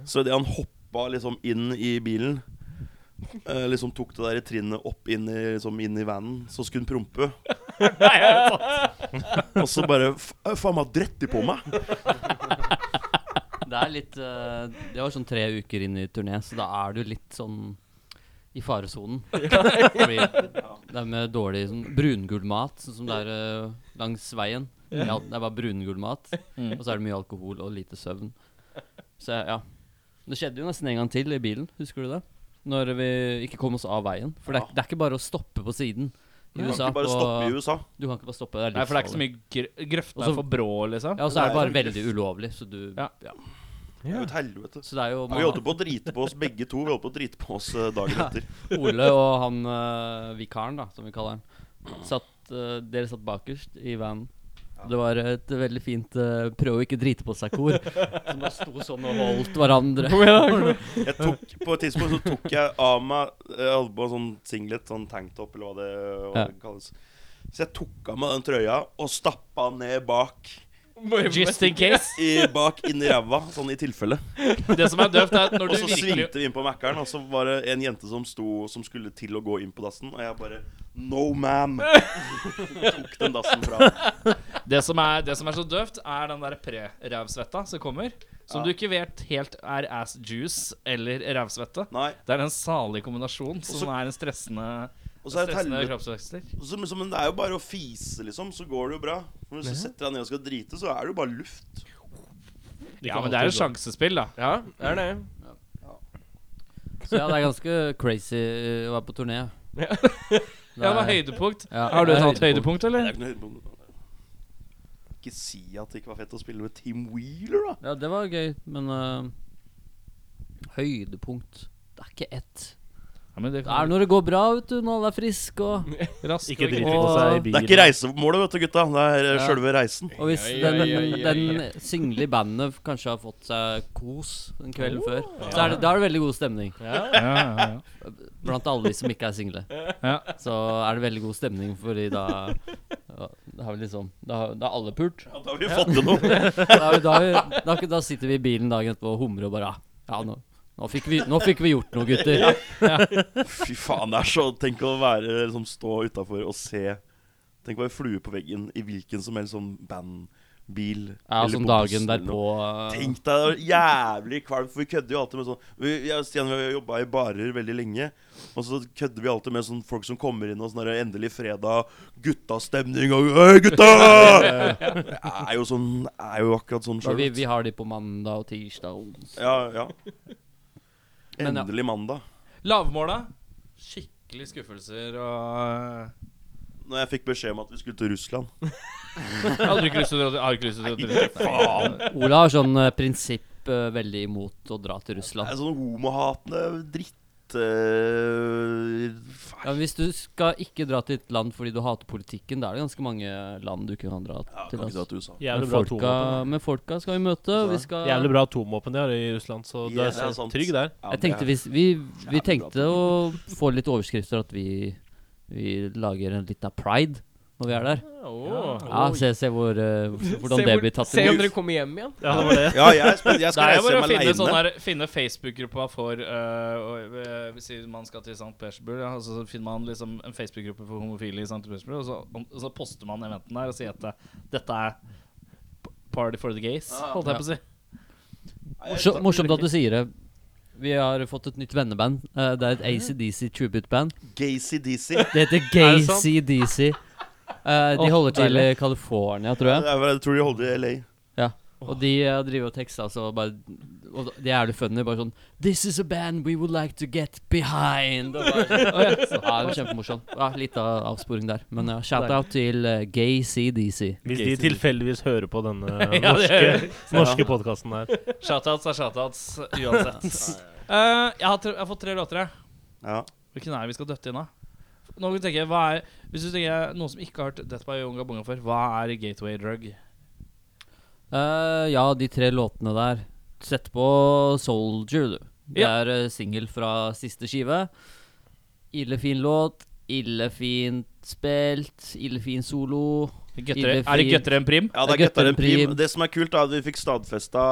Så det han hoppa liksom inn i bilen eh, Liksom tok det der trinnet opp inn i, liksom inn i vanen. Så skulle han prompe. og så bare f- Faen meg drett de på meg!
Det er litt eh, Det var sånn tre uker inn i turné, så da er du litt sånn i faresonen. Fordi det er med dårlig sånn brungul mat, sånn som det er eh, langs veien. Ja, det er bare brungul mat,
Mm.
og så er det mye alkohol og lite søvn. Så ja. Det skjedde jo nesten en gang til i bilen, husker du det? Når vi ikke kom oss av veien. For det er, det er ikke bare å stoppe på siden.
Du
I
kan
USA,
ikke bare
på-
stoppe i USA.
Du kan ikke bare stoppe. Det er
Nei, for det er ikke så
livsfarlig.
mye gr Grøftene
Også-
er for brå, liksom.
Ja, og så er det bare veldig ulovlig, så du
Ja.
Det er jo et helvete.
Så det er jo
Vi holdt på å drite på oss begge to. Vi holdt på å drite på oss eh, dagen etter.
Ole og han eh, vikaren, da, som vi kaller han, satt, eh, dere satt bakerst i vanen. Det var et veldig fint eh, 'prøv å ikke drite på seg'-kor. Som bare sto sånn og holdt hverandre.
Jeg tok, på et tidspunkt så tok jeg av meg Jeg hadde på en sånn singlet, sånn tanktop, eller hva det, hva
Ja.
det kalles. Så jeg tok av meg den trøya og stappa den ned bak.
Just in case.
I, bak inn i ræva, sånn i tilfelle.
Det som er døvt, er at når
Og
du
så
virkelig
svingte vi inn på Mækkern, og så var det en jente som sto Som skulle til å gå inn på dassen, og jeg bare No, ma'am! tok den dassen fra henne.
Det som er, det som er så døvt, er den der pre-rævsvetta som kommer. Som du ikke vet helt er ass juice eller rævsvette.
Nei.
Det er en salig kombinasjon som
så-
er en stressende,
Og så er det et
stressende
helvete
kroppsvekster.
Så, men, så, men det er jo bare å fise, liksom, så går det jo bra. Men hvis du setter deg ned og skal drite, så er det jo bare luft.
Ja, men det er et sjansespill, da.
Ja, det er det.
Så ja, det er ganske crazy eh, å være på turné.
Ja.
Det
Ja, det var
er-
høydepunkt.
ja,
Har du
det
et
er
annet høydepunkt,
Det er
eller?
ikke noe høydepunkt. Ikke si at det ikke var fett å spille med Team Wheeler, da.
Ja, det var gøy, men eh, Høydepunkt Det er ikke ett.
Ja, men det
Det er når det går bra, vet du, når alle er friske og
raskt
Ikke
og
drite
og-
på seg i
Det er
bilen.
ikke reisemålet, vet du, gutta. Det er ja.
Ja.
sjølve reisen.
Og hvis
Oi, oi,
den,
oi, oi,
den single i bandet kanskje har fått seg kos en kveld
Oh,
før, så er det, da er det veldig god stemning.
Ja, ja, ja.
Blant alle de som ikke er single.
Ja.
Så er det veldig god stemning, fordi da ja, Da har vi liksom Da har, da har alle pult.
Ja, da har vi fått til noe.
Da, har vi- da, har vi, da, da sitter vi i bilen dagen etterpå og humrer og bare Ja, nå, nå, fikk, vi, nå fikk vi gjort noe, gutter.
Fy faen, det er så Tenk å være liksom, stå utafor og se Tenk å være flue på veggen i hvilken som helst sånn bandbil.
Ja,
eller på
sånn
bussen
dagen
eller noe.
derpå eh,
Tenk deg, det var jævlig kvalm, for vi kødder jo alltid med sånn vi, jeg og Stian vi har jobba i barer veldig lenge, og så kødder vi alltid med sånn folk som kommer inn og sånn der, endelig fredag, guttastemning og Hei, gutta! Det er jo sånn Er jo akkurat sånn
da
sjøl.
vi, vi har de på mandag og tirsdag og onsdag.
Ja, ja.
Men ja.
Endelig mandag.
Lavmåla. Skikkelig skuffelser og
Når jeg fikk beskjed om at vi skulle til Russland.
Jeg hadde ikke lyst til å dra til- jeg har ikke lyst til å dra til faen.
Ola har sånn eh, prinsipp eh, veldig imot å dra til
Det
Russland.
er sånn homohatende dritt... eh, faen.
Ja, men hvis du skal ikke dra til et land fordi du hater politikken, da er det ganske mange land du kan dra
Ja,
til.
kan ikke dra
Altså.
til USA.
Men,
Jævlig bra
folka,
atomvåpen.
men folka skal vi møte. Vi skal
Jævlig bra atomvåpen de har i Russland, så du
Ja,
er
det er sant.
trygg der.
Ja,
Jeg
det
tenkte
er-
vi, vi, vi
Jævlig
tenkte
bra.
å få litt overskrifter at vi, vi lager en liten pride når vi er der.
Åh.
Ja, se, se hvor, eh, hvordan
se
det
hvor-
blir tatt
Se om
imot.
dere kommer hjem igjen.
Ja, det var det.
Ja, jeg, er spent. jeg
Det
skal
er jo
reise
bare å
hjem
finne, sånn
aleine.
her, finne Facebook-gruppa for øh, og, øh, Si man skal til St. Petersburg, ja, og så finner man liksom en Facebook-gruppe for homofile i St. Petersburg, og så, og så poster man eventen der og sier at eh, dette er p- party for the gays,
Ah.
holdt jeg på å si.
Morsom, morsomt at du sier det. Vi har fått et nytt venneband. Eh, Det er et ACDC tribute-band.
Gacy-deacy.
Det heter Gay CDC. Eh, de
Åh,
holder til i
deilig.
California, tror jeg.
Jeg jeg tror de holder i LA.
Og de eh, driver og tekster altså bare Og de er jævlig funny. Bare sånn This is a band we would like to get behind. Og bare, sånn, så, ja, det var Kjempemorsomt. Ja, litt av avsporing der. Men ja, shout-out til eh, Gay CDC.
Hvis de tilfeldigvis hører på denne
Ja, det gjør
norske, norske podkasten her.
Shoutouts er shoutouts uansett. Eh, jeg, har tre, jeg har fått tre låter, jeg.
Ja.
Hvilken er det vi skal døtte inn av? Nå må vi tenke, hva er, Hvis du tenker noen som ikke har hørt Death by Yonga Bonga før, hva er gateway drug?
Eh, ja, de tre låtene der. Sett på Soldier, du. Det
Ja.
er uh, singel fra siste skive. Ille fin låt. Ille fint spilt. Ille fin solo.
Guttere, er det guttere enn prim?
Ja, det er
Jeg
Gutter
gutter en
enn prim.
prim.
Det som er kult, er at vi fikk stadfesta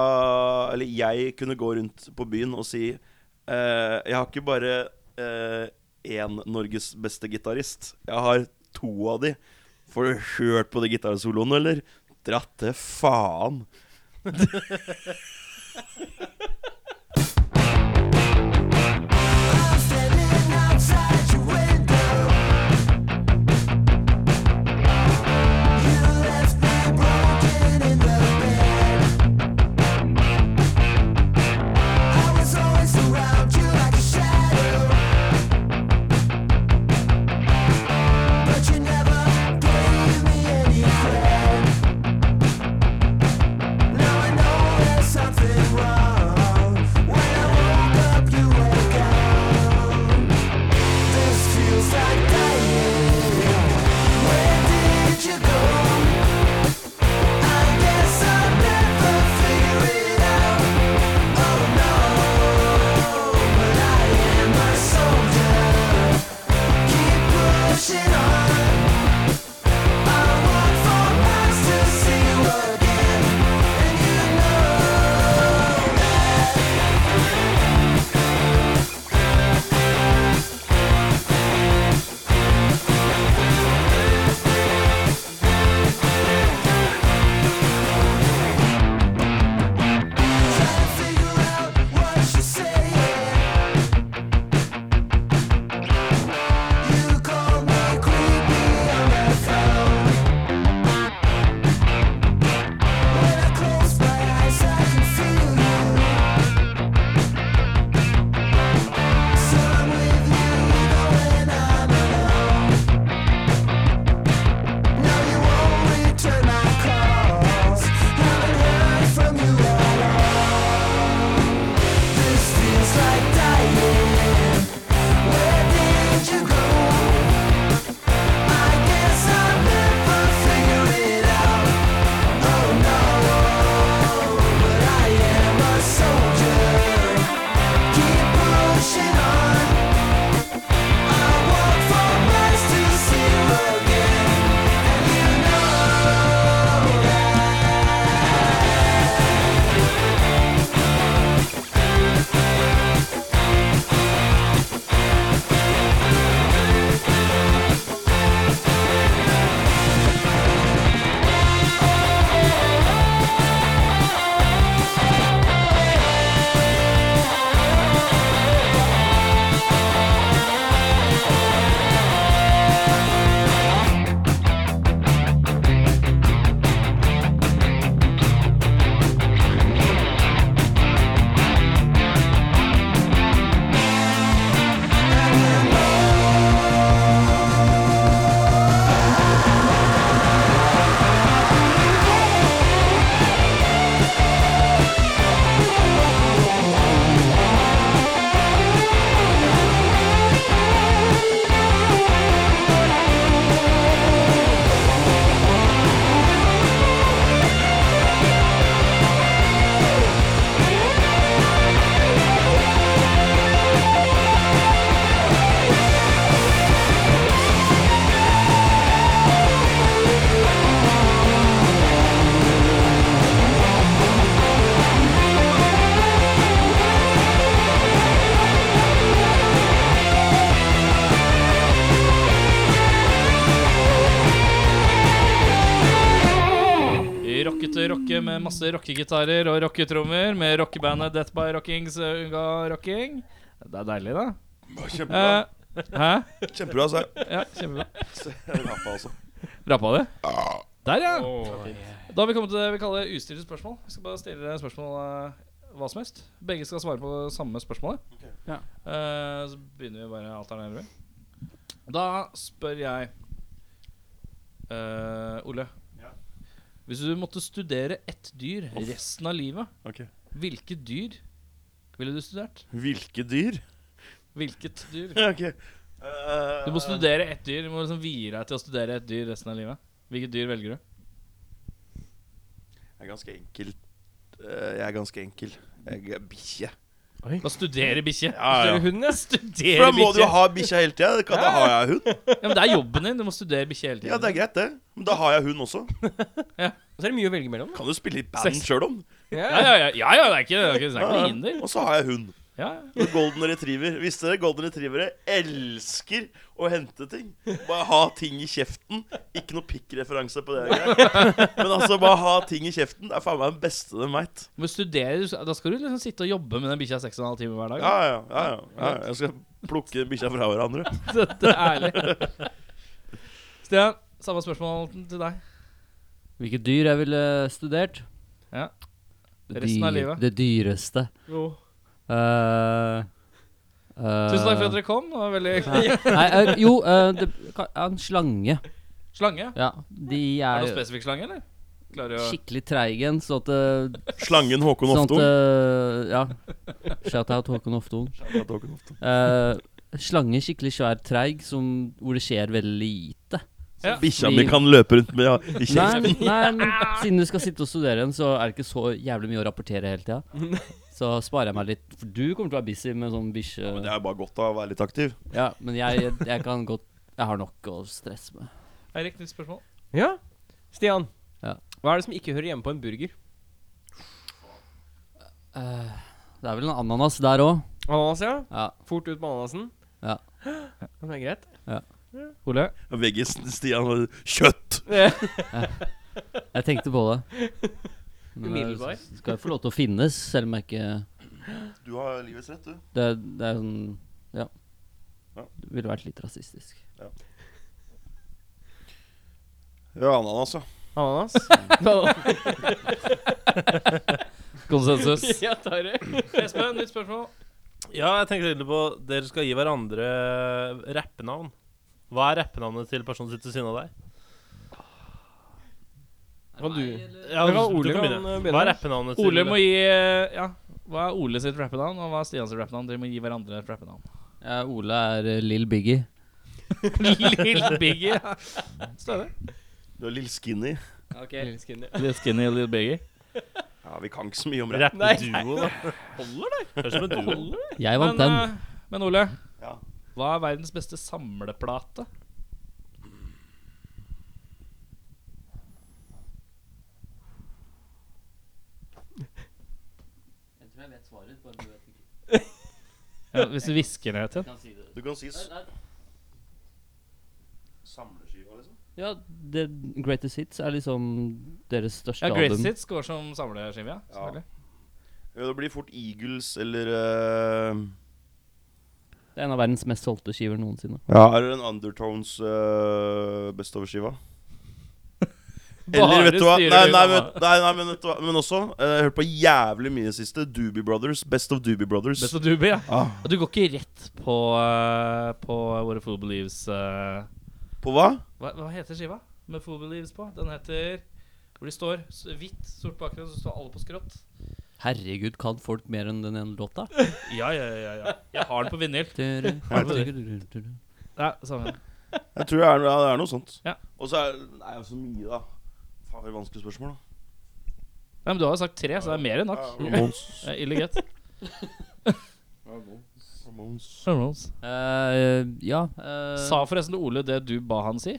Eller jeg kunne gå rundt på byen og si eh, Jeg har ikke bare eh, én Norges beste gitarist. Jeg har to av de. Får du hørt på de gitarsoloene, eller? Dratt til faen.
Something wrong Oh,
med masse rockegitarer og rocketrommer med rockebandet Death by Rockings eh, ga rocking. Det er deilig, da.
Kjempebra.
Eh, hæ?
Kjempebra, sa jeg.
Ja, kjempebra.
Så jeg rappa, altså.
Rappa det? Der, ja. Da har vi kommet til det vi kaller ustilte spørsmål. Vi skal bare stille dere spørsmål eh, hva som helst. Begge skal svare på samme spørsmålet.
Ja.
Eh, så begynner vi bare alternativt. Da spør jeg eh, Ole. Hvis du måtte studere ett dyr resten av livet,
Ok.
hvilke dyr ville du studert?
Hvilke dyr?
Hvilket dyr?
Ok.
Du må studere ett dyr. Du må liksom vie deg til å studere ett dyr resten av livet. Hvilket dyr velger du?
Jeg er ganske enkel. Eh, Jeg er ganske enkel. Jeg er bikkje.
Da studere bikkje.
Ja, ja.
Hun, ja.
For da
Studere
må du jo
bikkje.
ha bikkja hele tida. Da har jeg hund.
Ja, men det er jobben din. Du må studere bikkje hele tiden.
Ja, det er greit, det. Men da har jeg hund også.
Og så er det mye å velge mellom.
Kan jo spille i band sjøl om.
Ja, ja, ja, ja, ja, det er ikke, det er ikke, det er ikke noe hinder.
Og så har jeg hund.
Ja,
Og golden retriever. Visste dere golden retrievere elsker å hente ting? Bare ha ting i kjeften. Ikke noe pikkreferanse på det. greier. Men altså, bare ha ting i kjeften Det er faen meg den beste de veit.
men studere, da skal du liksom sitte og jobbe med den bikkja seks og en halv time hver dag.
Ja, ja, ja, ja, ja. Jeg skal plukke bikkja fra hverandre.
Dette er ærlig. Stian, samme spørsmål til deg.
Hvilke dyr jeg ville studert?
Ja.
Det
Resten av
dyr-
livet.
Det dyreste. Eh, eh,
Tusen takk for at dere kom. Det var veldig
Nei, eh, jo, eh, det, ka- ja, en slange.
Slange?
Ja, de
Er
er
det noen
jo
spesifikk slange, eller? Klarer du å
skikkelig treige, en, sånn at eh,
Slangen Håkon
Sånn at
Oftong.
eh, Ja. Shout-out Håkon Oftong. Eh, slange skikkelig svær, treig, som, hvor det skjer veldig lite.
Bikkja mi kan løpe rundt med ja, i
Nei,
kjeften.
men- nei, men siden du skal sitte og studere igjen, så er det ikke så jævlig mye å rapportere hele tida. Så sparer jeg meg litt. For du kommer til å være busy med sånn
Men
bikkje...
Det er bare godt av å være litt aktiv.
Ja, men jeg, jeg, jeg kan godt Jeg har nok å stresse med.
Eirik, nytt spørsmål.
Ja. Stian,
Ja.
hva er det som ikke hører hjemme på en burger?
Det er vel en ananas der òg.
Ananas, ja.
Ja.
Fort ut med ananasen.
Ja.
Men det er greit.
Ole?
Veggisen Stian Kjøtt!
Jeg tenkte på det. Men det
Umiddelbar.
s- skal jo få lov til å finnes, selv om jeg ikke
Du har livets rett, du.
Det, er- det er sånn Ja.
Ja.
Det ville vært litt rasistisk.
Ja, ananas, ja.
Ananas.
Konsensus.
ja, tar det.
Espen, nytt spørsmål.
Ja, jeg tenker egentlig på Dere skal gi hverandre rappenavn. Hva er rappenavnet til personen som sitter ved siden av deg?
Kan du?
Ja,
Da kan
du- du
Ole
kan
kan,
begynne.
uh, begynne.
Hva er rappenavnet til
Ole må gi eh, Ja, hva er Ole sitt rappenavn, og hva er Stian sitt rappenavn? Dere må gi hverandre et rappenavn.
Ja, Ole er eh, Lill Biggie.
Lill Biggie. ja. Stødig.
Du er lill skinny.
Lille skinny.
Litt skinny Little Biggie.
Ja, vi kan ikke så mye om rapp.
Rappeduo, da. Høres som en duo.
Jeg
Men,
vant den.
eh, men Ole,
Ja.
hva er verdens beste samleplate?
Jeg tror jeg vet svaret, bare du vet ikke.
Ja, hvis du hvisker ned til den.
Kan si det.
Du kan si s- samleskiva, liksom.
Ja, The Greatest Hits er liksom deres største
Ja,
album.
Greatest Hits går som samleskive, ja. selvfølgelig.
Ja, det blir fort Eagles eller eh,
Det er en av verdens mest solgte skiver noensinne.
Ja, er det en Undertones uh, best over-skiva? Eller
Bare
vet du hva?
styrer
Nei,
du
nei,
unna.
vet, nei, nei men vet du hva? Men også, eh, jeg hørte på jævlig mye i det siste. Doobie Brothers. Best of Doobie Brothers.
Best of Doobie, ja.
Ah.
Og Du går ikke rett på, eh, på What a Fool Believes eh,
På hva?
hva, hva heter skiva med Fool Believes på? Den heter hvor de står s- hvitt, sort bakgrunn, så står alle på skrått.
Herregud, kan folk mer enn den ene låta?
Ja, ja, ja. ja. Jeg har den på vinyl.
Nei,
Ja, samme.
Jeg tror det er, ja, det er noe sånt.
Ja.
Og så er det er jo så mye, da. Faen, det er vanskelig spørsmål, da.
Nei, men du har jo sagt tre, så det er mer enn nok.
Ramones.
Det er Ille greit.
Ramones.
ja eh,
Sa forresten Ole det du ba han si?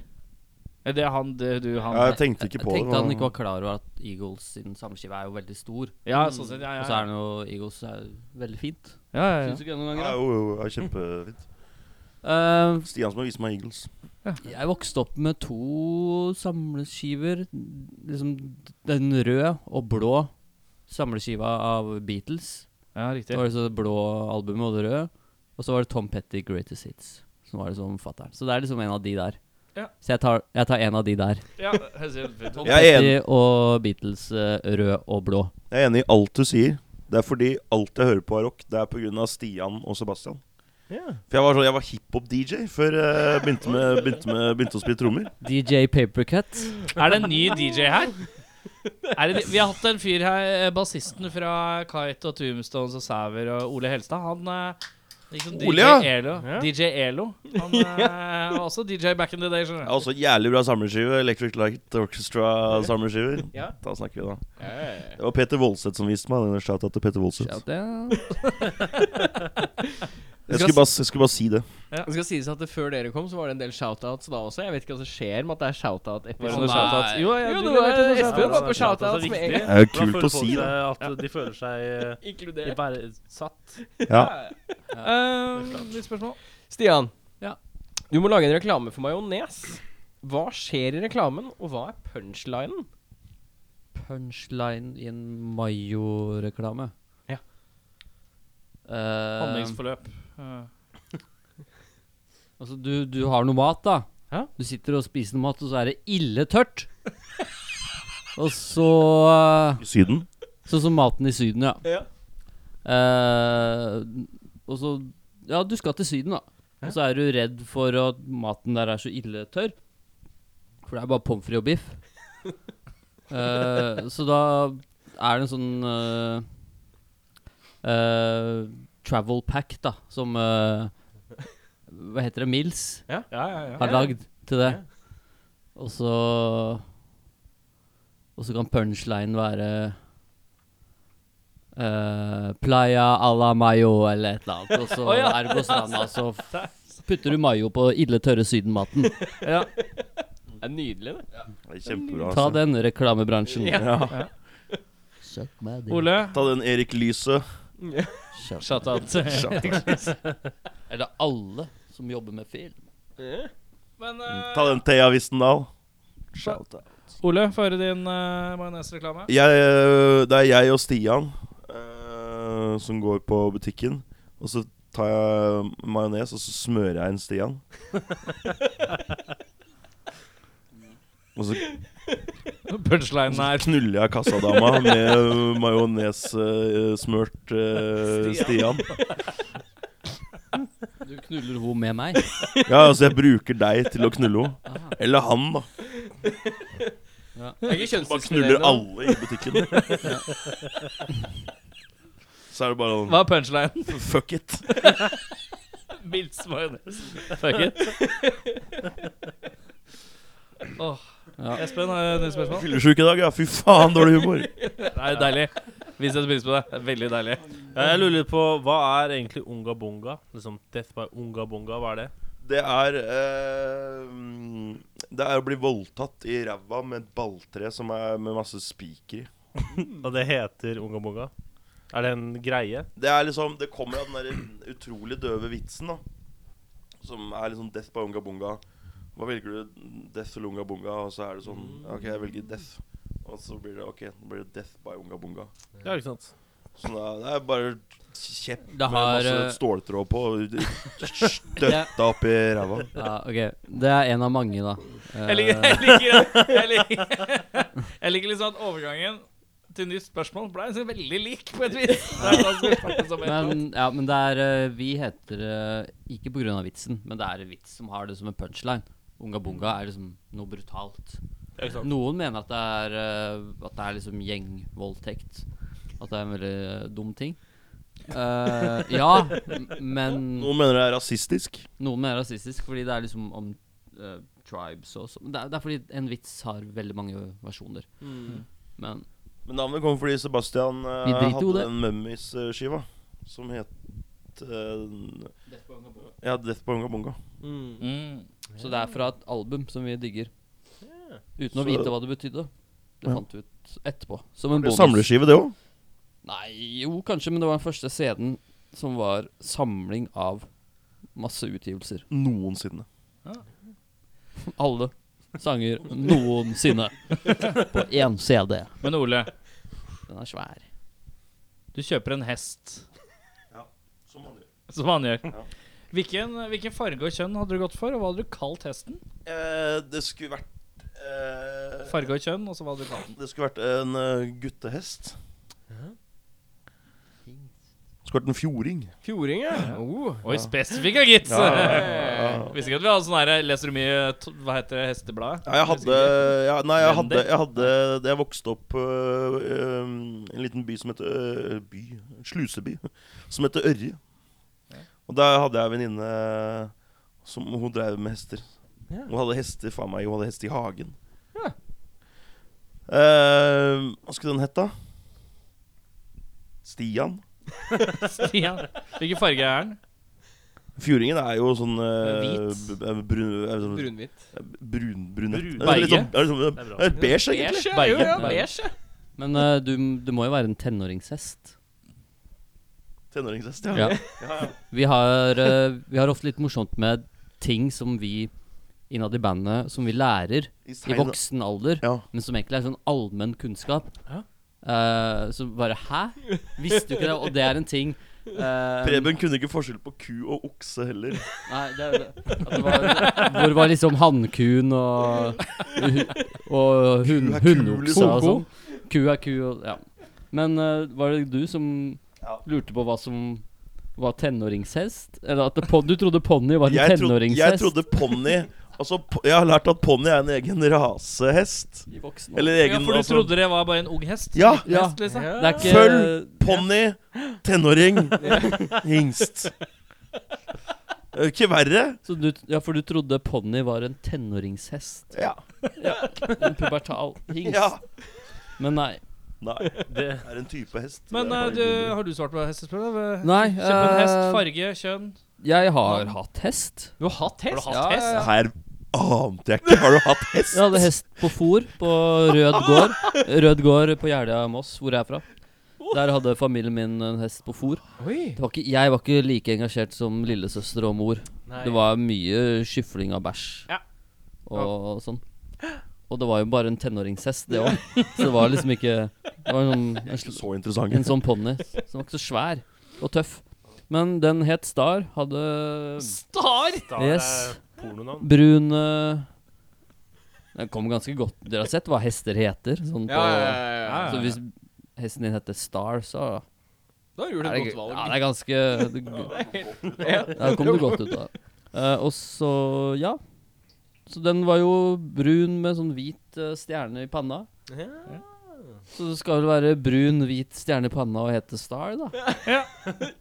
Eller det han, det du, han
Ja, jeg tenkte ikke på
Jeg tenkte
det.
han
men-
ikke var klar over at Eagles sin samskive er jo veldig stor.
Ja, sånn sett. Ja,
Og
ja,
så
ja.
er det jo Eagles er jo veldig fint.
ja, ja,
Syns
ja.
du ikke det noen ganger?
Ja,
da?
jo, jo, det er kjempefint.
Eh,
Stian som har vist meg Eagles.
jeg vokste opp med to samleskiver. Liksom den røde og blå samleskiva av Beatles.
Ja, riktig.
Det var liksom det blå albumet og det røde. Og så var det Tom Petty Greatest Hits. Som var liksom fatter'n. Så det er liksom en av de der.
Ja.
Så jeg tar, jeg tar en av de der.
Ja, høres helt fint ut.
Jeg er
Petty og Beatles eh, rød og blå.
Jeg er enig i alt du sier. Det er fordi alt jeg hører på er rock. Det er pga. Stian og Sebastian. For jeg var, sånn- jeg var hiphop-DJ før jeg begynte, med, begynte, med, begynte å spille trommer.
DJ Papercat.
Er det en ny DJ her? Er det, vi har hatt en fyr her, eh, bassisten fra Kite og Tombstones og Sæver og Ole Helstad. Han eh, liksom DJ
Ole, ja.
Elo. DJ Elo. Han eh, var også DJ back in the day, skjønner
Jeg har også en jævlig bra samleskive. Electric Light Orchestra-samleskiver.
Ja.
Da snakker vi, da.
du.
Det var Peter Woldseth som viste meg den. Shout-out til Peter Woldseth. Jeg skulle bare, jeg skulle bare si det.
Det skal sies at det Før dere kom, så var det en del shoutouts da også. Jeg vet ikke hva som skjer med at det er
Var det
shoutout-episode.
noe shoutouts? Jo, ja,
Jo,
du
det
leverte
var
noe
Espen var
shoutouts.
på shoutouts med en gang.
Det er jo
Da føler
kult å
folk
si
seg
det.
At de føler seg eh,
Inkludert.
verdsatt.
Ja.
Eh, Litt spørsmål.
Stian,
Ja.
du må lage en reklame for majones. Hva skjer i reklamen, og hva er punchlinen?
Punchline i en Mayo-reklame.
Ja.
Eh,
Handlingsforløp. Eh,
altså, du, du har noe mat, da.
Ja.
Du sitter og spiser noe mat, og så er det ille tørt. og så eh,
I Syden.
Sånn som maten i Syden, ja. Eh, og så Ja, du skal til Syden, da. Og så er du redd for at maten der er så ille tørr. For det er bare pommes frites og biff. Eh, så da er det en sånn eh, eh, travel pack, da, som eh, Hva heter det? Mills
Ja, ja, ja.
har lagd til det. Og så Og så kan punchline være eh, Playa a la mayo eller et eller annet. Og så er du på stranda, så f- putter du mayo på ille tørre sydenmaten.
Det er nydelig, det.
Det er kjempebra.
Ta
Altså.
den reklamebransjen.
Ja.
Suck my dick.
Ole,
Ta den Erik Lyset.
Shut-
shoutout.
Eller alle som jobber med film.
Men eh,
Ta den Thea Wistendal. Shout-out.
Ole, få høre din uh, majonesreklame.
jeg, øh, Det er jeg og Stian øh, som går på butikken. Og så tar jeg majones, og så smører jeg en Stian. og så
Punchline er
knuller jeg kassadama med øh, majones-smørt øh, Stian.
Du knuller ho med meg.
Ja, altså jeg bruker deg til å knulle henne. Eller han, da.
det er ikke
Bare knuller
kjønnsdiskriminerende.
alle i butikken. Så er det bare
Hva er punchline?
sånn Fuck it.
Mils majones. Fuck it. Åh.
Ja.
Espen, har du nytt spørsmål?
Fyllesyk i dag, ja. Fy faen, dårlig humor.
Det er deilig. Vi setter pris på det. det er veldig deilig.
Ja, Jeg lurer litt på hva er egentlig unga bunga? Liksom Death by unga bunga, hva er det?
Det er eh, mm, Det er å bli voldtatt i ræva med et balltre som er med masse spiker i.
Og det heter unga bunga? Er det en greie?
Det er liksom Det kommer av den der utrolig døve vitsen, da. Som er liksom death by unga bunga. Hva velger du? Death eller unga bunga? Og så er det sånn
Mm.
ja, OK, jeg velger death. Og så blir det OK, nå blir det death by unga bunga.
Ja, ikke sant?
Så da, det er bare kjepp
Det
med
har,
masse
eh,
ståltråd på, og støtta opp i ræva.
Ja, ok. Det er en av mange, da.
Jeg liker, jeg liker, jeg liker, jeg liker liksom at overgangen til nytt spørsmål ble liksom veldig lik, på et vis. Det er ganske snakket som et eller annet.
Men, ja, men det er eh, Vi heter eh, Ikke på grunn av vitsen, men det er en vits som har det som en punchline. Unga bunga er liksom noe brutalt.
Ja, ikke sant?
Noen mener at det er eh, At det er liksom gjengvoldtekt. At det er en veldig eh, dum ting. Eh, ja, m- men
Noen mener det er rasistisk.
noen mener rasistisk fordi det er liksom om eh, tribes og sånn. Det, er- det er fordi en vits har veldig mange versjoner.
Mm.
Men
Men navnet kom fordi Sebastian eh,
Vi driter jo
hadde
det.
den Mummies-skiva som het eh, ja, Death by Unga Bunga.
Mm.
Så det er fra et album som vi digger. Uten å
Så-
vite hva det betydde. Det
Ja.
fant vi ut etterpå. Som en
Det er
bonus.
Samleskive, det òg.
Nei, jo, kanskje, men det var den første CD-en som var samling av Masse utgivelser.
Noensinne.
Alle sanger noensinne på én CD.
Men Ole,
Den er svær.
du kjøper en hest. Ja, som han gjør. Hvilken, hvilken farge og kjønn hadde du gått for, og hva hadde du kalt hesten?
det skulle vært eh,
Farge og kjønn, og så hva hadde du kalt den?
Det skulle vært en eh, guttehest. Det skulle vært en fjording.
Fjording, ja. Oh.
Oi, spesifikk, ja, gitt!
ja.
Visste ikke at vi hadde sånn her Leser du mye t- Hva heter det? Hestebladet?
Ja, jeg hadde ja, Nei, jeg hadde,
Bender?
jeg hadde da Jeg vokste opp øh, øh, en liten by som het øh, By? Sluseby. Som het Ørje. Og der hadde jeg en venninne øh, som hun drev med hester.
Ja.
Hun hadde hester faen meg, hun hadde hest i hagen.
Ja.
Eh, hva skulle den hett, da? Stian?
Stian. Hvilken farge er den?
Fjordingen er jo sånn øh,
Hvit?
b- b- brun, eh, sånn-
Brunhvitt.
brun, brunett.
Brun-
Det er
Beige?
litt sånn- det er litt sånn-
Det er bra.
det er Beige,
Beige, ja.
egentlig.
Berge.
Jo, ja,
Berge.
beige. ja.
Men eh, du, du må jo være en tenåringshest.
Tenåringshest, ja.
Ja. Vi har, eh, vi har ofte litt morsomt med ting som vi innad i bandet som vi lærer
I,
i
sein-
voksen alder,
Ja.
men som egentlig er sånn allmenn kunnskap.
Ja.
Eh, så bare hæ? Visste du ikke det? Og det er en ting eh,
Preben kunne ikke forskjell på ku og okse heller.
Nei, det er jo det. At det var, hvor var liksom hannkuen og, og hun,
Ku er ku,
hundoksa
liksom.
og sånn. Ku er ku og Ja. Men eh, var det du som lurte på hva som var tenåringshest? Eller at det pon du trodde ponni var en
Jeg, trodde- jeg
tenåringshest?
trodde ponni Altså, po- jeg har lært at ponni er en egen rasehest.
I voksen alder.
Eller
Ja,
egen
for du
altså-
trodde det var bare en ung hest?
Ja,
En
ja.
Hest, liksom?
Det er ikke
Følg Ponni, tenåring, hingst. Det er jo Eh, Ikke verre.
så du, Ja, for du trodde ponni var en tenåringshest?
Ja.
En pubertal hingst?
ja.
Men nei.
Nei,
Det,
det er en type hest.
Men
Det er
eh,
bare
du,
mindre.
har du svart på hestespørsmålet?
Nei
Kjøpe en hest,
eh,
farge, kjønn
jeg har hatt hest.
Du har hatt hest?
Har du hatt hest?
Ja, ja, ja.
Her ante jeg ikke. Har du hatt hest?
Jeg hadde hest på fôr på Rød gård. Rød gård på Jeløya i Moss, hvor jeg er fra. Der hadde familien min en hest på fôr.
Oi.
Det var ikke, jeg var ikke like engasjert som lillesøster og mor. Det var mye skyfling av bæsj
Ja.
og sånn. Og det var jo bare en tenåringshest, det òg. Så det var liksom ikke Det var en sånn, en,
Ikke
sl-
så interessant.
en sånn ponni som var ikke så svær og tøff. Men den het Star. Hadde
Star!
da
Yes.
er pornonavn.
brun eh, Den kom ganske godt Dere har sett hva hester heter? Sånn på
Ja, ja, ja, ja.
Så hvis hesten din heter Star, så
Da gjorde
er
du
det,
et
g-
godt valg.
ja, det er ganske det- Der kom du godt ut av. Eh, og så ja. Så den var jo brun med sånn hvit eh, stjerne i panna. Så det skal vel være brun, hvit stjerne i panna og hete Star, da.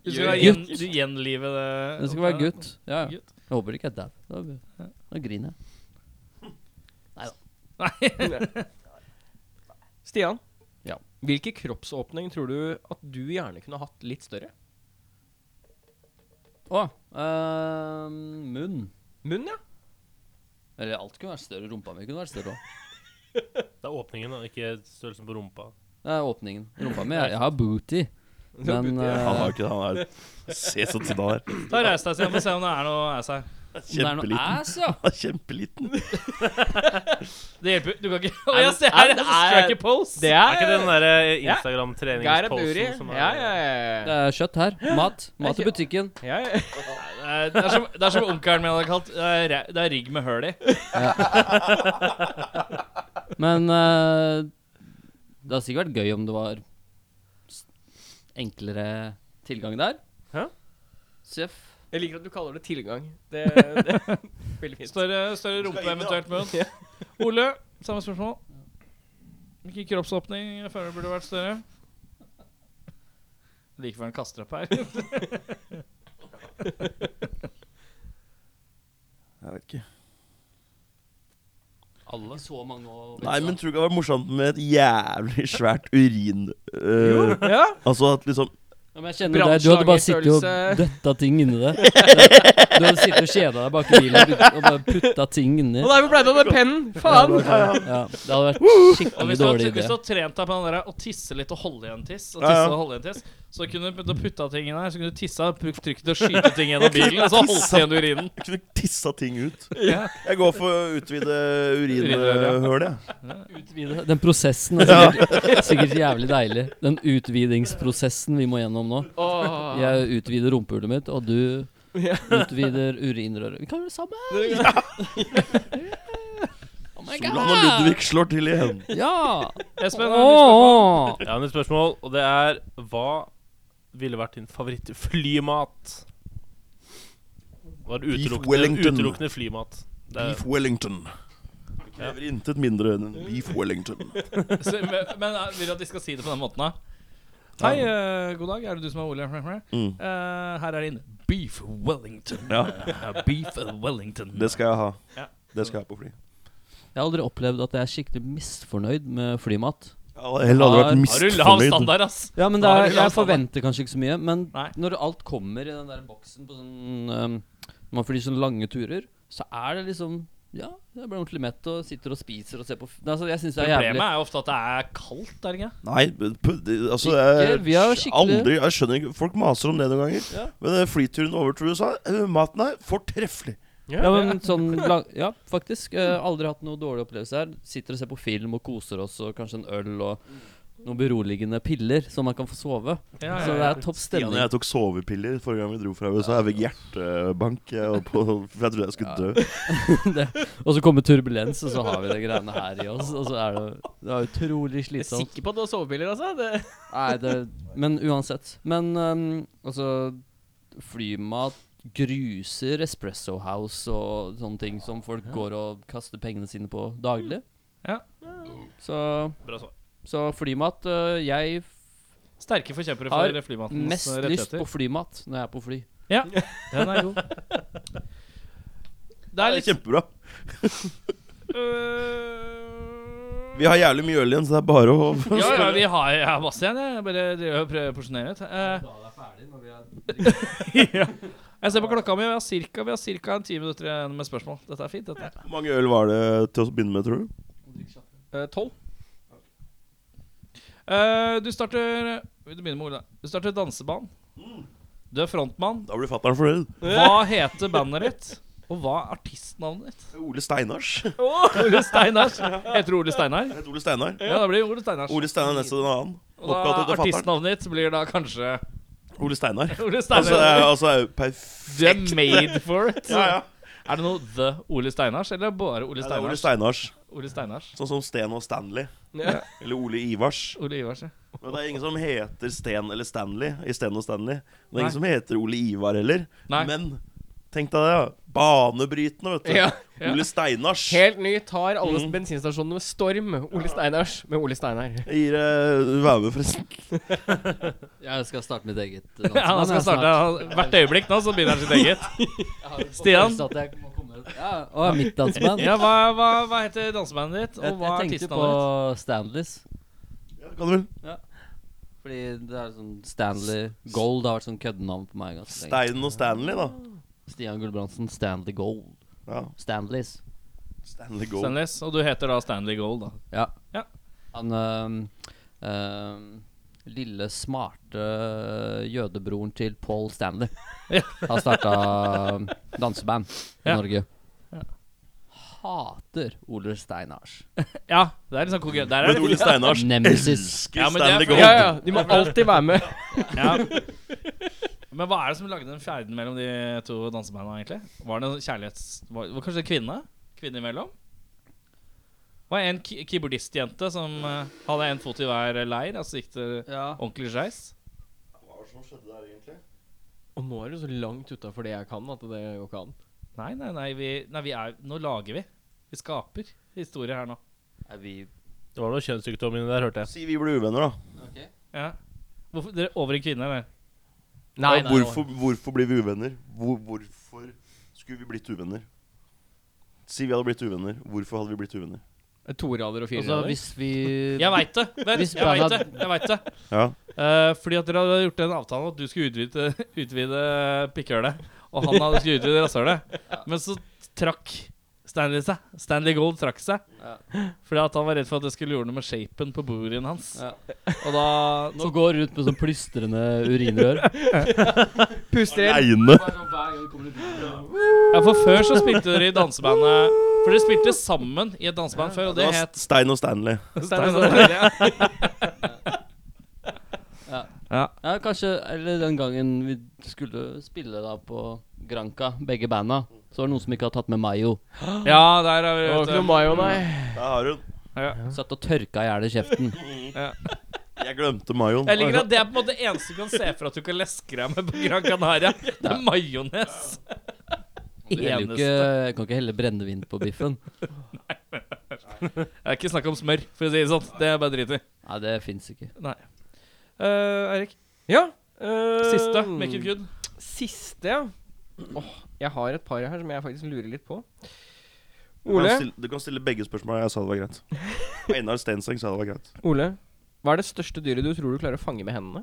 Du skal være gjen, du gjenlive det
Den skal være gutt. Ja, ja.
Gutt.
Jeg håper ikke jeg dau. Da, da, griner jeg.
Stian,
Ja.
hvilken kroppsåpning tror du at du gjerne kunne hatt litt større?
Å, eh, munn.
Munn, ja.
Eller alt kunne vært større. Rumpa mi kunne vært større òg.
Det er åpningen, da, ikke størrelsen på rumpa.
Det er åpningen. Rumpa mi Jeg, jeg har booty. Men eh,
Han har ikke det. Han er Se så tynn han er.
Ta reis deg, Stian, og se om det er noe ass her.
om det er noe
Kjempeliten.
ass, ja.
Han er Kjempeliten.
Det hjelper jo. Du kan ikke Å, jeg ser her!
det er-
Striker pose.
Det
Er ikke det den derre
Gerhard Buri.
Instagram-treningsposen som er
Ja, ja, ja.
Det er kjøtt her. Mat. Mat i butikken.
ja, ja.
Det er, det er som, det er som onkelen min hadde kalt det er, re- det er rigg med høl i.
Men eh, det hadde sikkert vært gøy om det var s- enklere tilgang der.
Hæ?
Seff.
Jeg liker at du kaller det tilgang. Det, det er veldig fint.
Større, større rumpe, eh, eventuelt munn. Ole, samme spørsmål. Hvilken kroppsåpning føler du burde vært større? Like før han kaster opp her.
Jeg vet ikke.
Alle så mange og
Nei, men tror du ikke det hadde vært morsomt med et jævlig svært urin... øh,
Ja.
altså at liksom
ja, men jeg kjenner deg. Du hadde bare sittet og
Brannslagerfølelse.
døtta ting inni deg. Du hadde sittet og kjeda deg bak i bilen og putt- og bare putta ting inni.
Og der hvor ble det av den pennen? Faen!
Ja, det hadde vært
Og
skikkelig
hvis du, har,
dårlig idé.
hvis du har trent deg på den der å tisse litt og holde igjen tiss, og
Ja,
tisse
ja.
og holde igjen tiss, Så kunne du putte- putta ting inn her, så kunne du tissa, brukt trykket til å skyte ting gjennom bilen, og så holdt igjen urinen.
Jeg kunne tissa ting ut.
Ja.
Jeg går for å utvide urinhølet, jeg.
Utvide. Den prosessen er sikkert, sikkert jævlig deilig. Den utvidingsprosessen vi må gjennom nå.
Åh.
Jeg utvider rumpehullet mitt, og du utvider urinrøret. Vi kan gjøre det samme! Oh my
Solan og Ludvig slår til igjen.
Ja!
Espen,
Åh!
Jeg har et spørsmål, og det er Hva ville vært din favorittflymat? Var det
Beef
utelukkende,
Wellington.
utelukkende flymat? Det er,
Beef Wellington. Det krever intet mindre enn en beef Wellington.
Så, men, men eh, vil du at de skal si det på den måten, da? Hei, eh, god dag. Er det du som er Ole?
Mm.
Eh, her er din Beef Wellington. Eh, Beef Wellington.
Det skal jeg ha.
Ja.
Det skal jeg ha på fly.
Jeg har aldri opplevd at jeg er skikkelig misfornøyd med flymat.
Jeg heller hadde vært
Har du lav
misfornøyd.
standard, ass?
Ja, men det
Da har
er,
vi lav
Jeg
standard.
forventer kanskje ikke så mye, men
Nei.
når alt kommer i den der boksen på sånn ehm, Når man flyr sånne lange turer, så er det liksom Ja, jeg blir ordentlig mett og sitter og spiser og ser på f- Nei, altså, Jeg syns det er
Problemet
jævlig
er jo ofte at det er kaldt, er det ikke?
Nei, men pu- det- altså
Ikke,
jeg,
vi er jo
skj-
skikkelig-
aldri, jeg skjønner ikke Folk maser om det noen ganger. Men eh, flyturen over til USA, eh, maten er fortreffelig.
Ja, men sånn lang, Ja, faktisk. eh, aldri hatt noe dårlig opplevelse her. Sitter og ser på film og koser oss, og kanskje en øl og noen beroligende piller, så man kan få sove.
Ja,
Så det er topp
Stian
stemning.
og jeg tok sovepiller forrige gang vi dro fra USA. Jeg fikk hjertebank, jeg, var på, for jeg trodde jeg skulle dø.
Og så kommer turbulens, og så har vi de greiene her i oss. Og så er det, det er utrolig
Jeg er
slitsomt.
sikker på at du har sovepiller, altså. Det.
Nei, det Men uansett. Men ehm, altså Flymat gruser Espresso House og sånne ting som folk går og kaster pengene sine på daglig.
Ja.
Så,
bra svar.
så flymat eh, Jeg
Sterke forkjempere
Har
for flymatens
mest
eh,
lyst på
rettigheter.
flymat når jeg er på fly.
Ja, den er god. Det
Det
er
er
litt
kjempebra.
øh,
Vi har jævlig mye øl igjen, så det er bare å
Ja, ja, vi har jeg har masse igjen. jeg. Jeg bare driver og prøver å porsjonere ut. Eh, ja. Jeg ser på klokka mi, og vi har cirka, vi har cirka en ti minutter igjen med spørsmål. Dette er fint, dette.
Hvor mange øl var det til å begynne med, tror du?
Eh, Tolv. Eh, du starter Du begynner med Ola. Du starter dansebanen. Du er frontmann.
Da blir fatter'n fornøyd.
Hva heter bandet ditt? Og hva er artistnavnet ditt?
Ole Steinars. Jeg
Ole Steinar. Heter du Ole Steinar?
heter Ole Steinar.
Ja, da blir det Ole Steinars.
Ole Steinar er nesten en annen.
Og
Oppkalt
da
etter fatter'n.
artistnavnet ditt blir da kanskje
Ole Steinar.
Ole
Altså, det
Steinar.
er- altså, det er jo perfekt.
Du er made for it.
Ja, ja.
Er det noe The Ole Steinars, eller er det bare Ole
Ja, det er Ole
Steinars?
Steinars.
Ole Steinars.
Sånn som Sten og Stanley.
Ja.
Eller Ole Ivars.
Ole Ivars, ja.
Men det er ingen som heter Sten eller Stanley i Sten og Stanley. Det er
Nei.
ingen som heter Ole Ivar heller.
Nei.
Men tenk deg det. ja. Banebrytende, vet du.
Ja.
Ja.
Ole Steinars.
Helt ny tar alle bensinstasjonene med storm. Ole Steinars med Ole Steinar.
Jeg gir deg Være med, forresten.
Jeg skal starte mitt eget eh,
ja. Han skal starte han- hvert øyeblikk nå, så begynner han sitt eget. Stian?
Ja, og er mitt danseband.
Ja, hva, hva, hva heter dansebandet ditt,
Jeg,
og hva er
jeg tenkte på
artistnavnet ditt?
Stanleys.
Kan du vel?
Fordi det er sånn Stanley Gold har vært sånn køddenavn på meg ganske lenge.
Stein og Stanley, da.
Stian Gulbrandsen, Stanley Gold.
Ja.
Stanleys.
Stanley Gold.
Stanleys. Og du heter da Stanley Gold, da.
Ja.
Ja.
Han øhm, øhm, lille, smarte øh, jødebroren til Paul Stanley
Ja.
har starta danseband i
Ja.
Norge.
Ja.
Hater Ole Steinars.
Ja, det er litt sånn konkurrent. Der er
Men
det
Ole Steinars
Nemesis.
elsker
Ja, men det er
Stanley
for-
Gold.
Ja, ja. De må alltid være med.
Ja. Men hva er det som lagde den fjerden mellom de to dansebandene, egentlig? Var det noen kjærlighets... Var, var kanskje det kvinne? Kvinne imellom? Det var en ki- keyboardistjente som eh, hadde en fot i hver leir, altså gikk det
Ja.
ordentlig skeis.
Og nå er du så langt utafor det jeg kan, at det går ikke an.
Nei, nei, nei, vi, nei vi er, nå lager vi. Vi skaper historie her nå.
Er vi
Det var noe kjønnssykdom inni der, hørte jeg.
Si vi ble uvenner, da.
Ja. Hvorfor, dere over en kvinne, eller?
Ja, hvorfor, hvorfor blir vi uvenner? Hvor, hvorfor skulle vi blitt uvenner? Si vi hadde blitt uvenner. Hvorfor hadde vi blitt uvenner?
Torader og
Altså,
firerader?
hvis vi
Jeg veit det! Vent,
Hvis
jeg veit det!
bandet-
jeg vet det
Ja.
Eh, Fordi at dere hadde gjort en avtale om at du skulle utvide, utvide pikkhølet, og han hadde skulle utvide rasshølet. Men så trakk Stanley seg. Stanley Gold trakk seg. Fordi at han var redd for at det skulle gjøre noe med shapen på burien hans. Og da
Som går rundt med sånn plystrende urinrør.
Puster inn.
Aleine.
Ja, for før så spilte dere i dansebandet For dere spilte sammen i et danseband før, og
Det
det
var
het
Stein og Stanley.
Stanley Gold.
Ja, kanskje Eller den gangen vi skulle spille da på Granca, begge banda, så var det noen som ikke hadde tatt med Mayo.
Ja, der har vi
Det var ikke noe mayo, nei.
Der har hun.
Satt og tørka i hjel i kjeften.
Jeg glemte sånn, mayoen.
Jeg liker at det er på en måte det eneste du kan se for at du kan leske deg med på Gran Canaria. Det er majones.
Du heller jo ikke, jeg kan ikke helle brennevin på biffen.
Det er ikke snakk om smør, for å si det sånn. Det er bare drit i.
Nei, det fins ikke.
Uh, Eirik.
Ja. eh,
Siste. Make it good.
Siste, ja. Åh, jeg har et par her som jeg faktisk lurer litt på.
Du kan
Ole,
stille, du kan stille begge spørsmåla. Jeg sa det var greit. Og Einar Stenseng sa det var greit.
Ole, hva er det største dyret du tror du klarer å fange med hendene?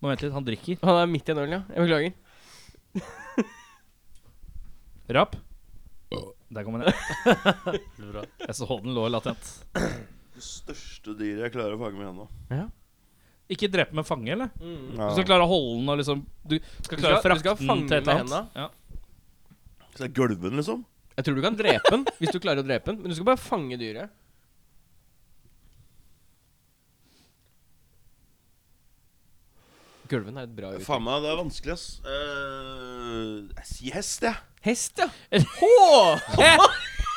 Må vente litt, han drikker.
Han er midt i en øl, ja. Jeg beklager.
Rap. Der kom den. Jeg så den lå latent.
Det største dyret jeg klarer å fange med hendene.
Ikke drepe med fange, eller?
Ja.
Du skal klare å holde den og liksom Du skal klare
skal-
å
du
frakte
skal
den
fange
til et
med
eller annet. Ja.
Så jeg gulver den, liksom.
Jeg tror du kan drepe den hvis du klarer å drepe den. Men du skal bare fange dyret. Gulven er et bra uttrykk.
Faen meg, det er vanskelig, ass. Eh, jeg sier hest, jeg.
Hest, ja.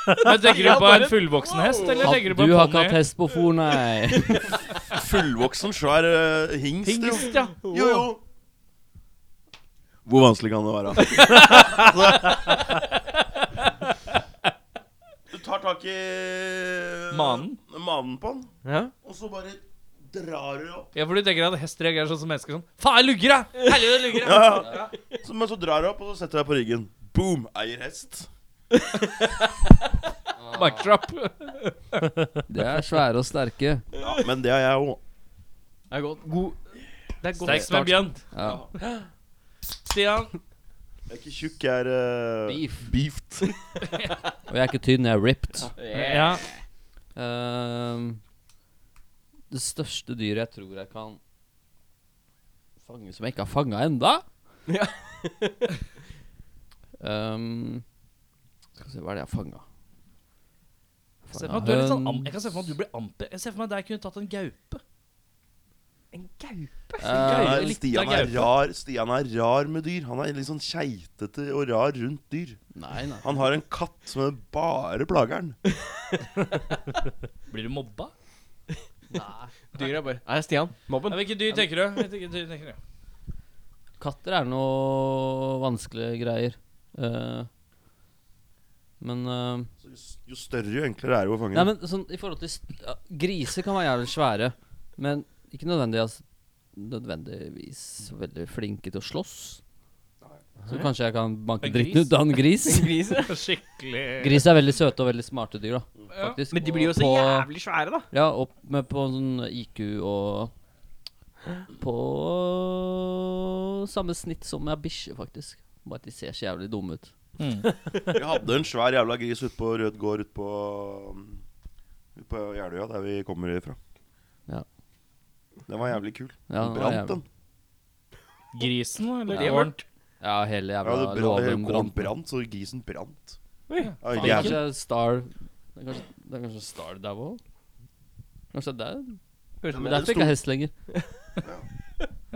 Men tenker du på en fullvoksen hest, eller
Hatt-
tenker du på
Du
en
har ikke hatt
ponni?
hest på fòr, nei.
Fullvoksen, svær eh, hingst. jo.
Hingst, ja.
Jo, jo. Hvor vanskelig kan det være? du tar tak i
Manen?
manen på den,
ja.
og så bare drar du opp.
Ja, for du tenker at hest reagerer sånn som mennesker sånn Faen, lugger deg! Helvete, lugger
Ja,
deg!
ja. Så, men så drar du opp, og så setter du deg på ryggen. Boom! Eier hest.
Mic drop.
De er svære og sterke.
Ja, men det har jeg òg.
Det er godt. God Det er godt
Sterk som en bjørn.
Ja.
Stian.
Jeg er ikke tjukk, jeg er eh,
Beef.
beefed.
Og jeg er ikke tynn, jeg er ripped.
Ja.
Ehm, det største dyret jeg tror jeg kan fange som jeg ikke har fanga enda
Ja.
Ehm, Skal vi se, hva er det jeg har fanga?
Se for meg at du er litt sånn am Jeg kan se for meg at du blir amper. Jeg ser for meg at jeg kunne tatt en gaupe.
En gaupe.
Nei,
Litt
Stian
av
er
gaupe.
rar Stian er rar med dyr. Han er litt sånn keitete og rar rundt dyr.
Eh, Nei, nei.
Han har en katt som bare plager han.
Blir du mobba?
Dyret er bare Nei, Stian.
Ja,
Mobben.
Hvilke dyr tenker du? Hvilke dyr tenker du?
Katter er noe vanskelige greier. Eh, men eh,
Så Jo jo større, jo enklere er det å fange.
Nei, men sånn i forhold til st- ja, Griser kan være jævlig svære, men ikke nødvendigvis, nødvendigvis veldig flinke til å slåss. Så kanskje jeg kan banke
En
dritten ut av en gris.
Gris, ja.
Skikkelig
Gris er veldig søte og veldig smarte dyr, da. Faktisk.
Men de blir jo
Og
så
på-
jævlig svære, da.
Ja, opp med på sånn IQ og På samme snitt som ei bikkje, faktisk. Bare at de ser så jævlig dumme ut.
Vi hadde en svær jævla gris ute på Rød gård ute på, um, ut på Jeløya, der vi kommer ifra.
Ja.
Den var jævlig kul.
Ja,
den
det var
brant, den.
Grisen, eller?
Ja.
Åren?
Ja, hele
Ja, det
jævla
brant, hele gården
låven brant.
brant, så grisen brant.
Oi.
Ja,
Det er
jævlig.
kanskje Star Det er kanskje, det er kanskje Star der òg? Kanskje det er
Høres ut som
Men
det.
derfor ikke jeg hest lenger.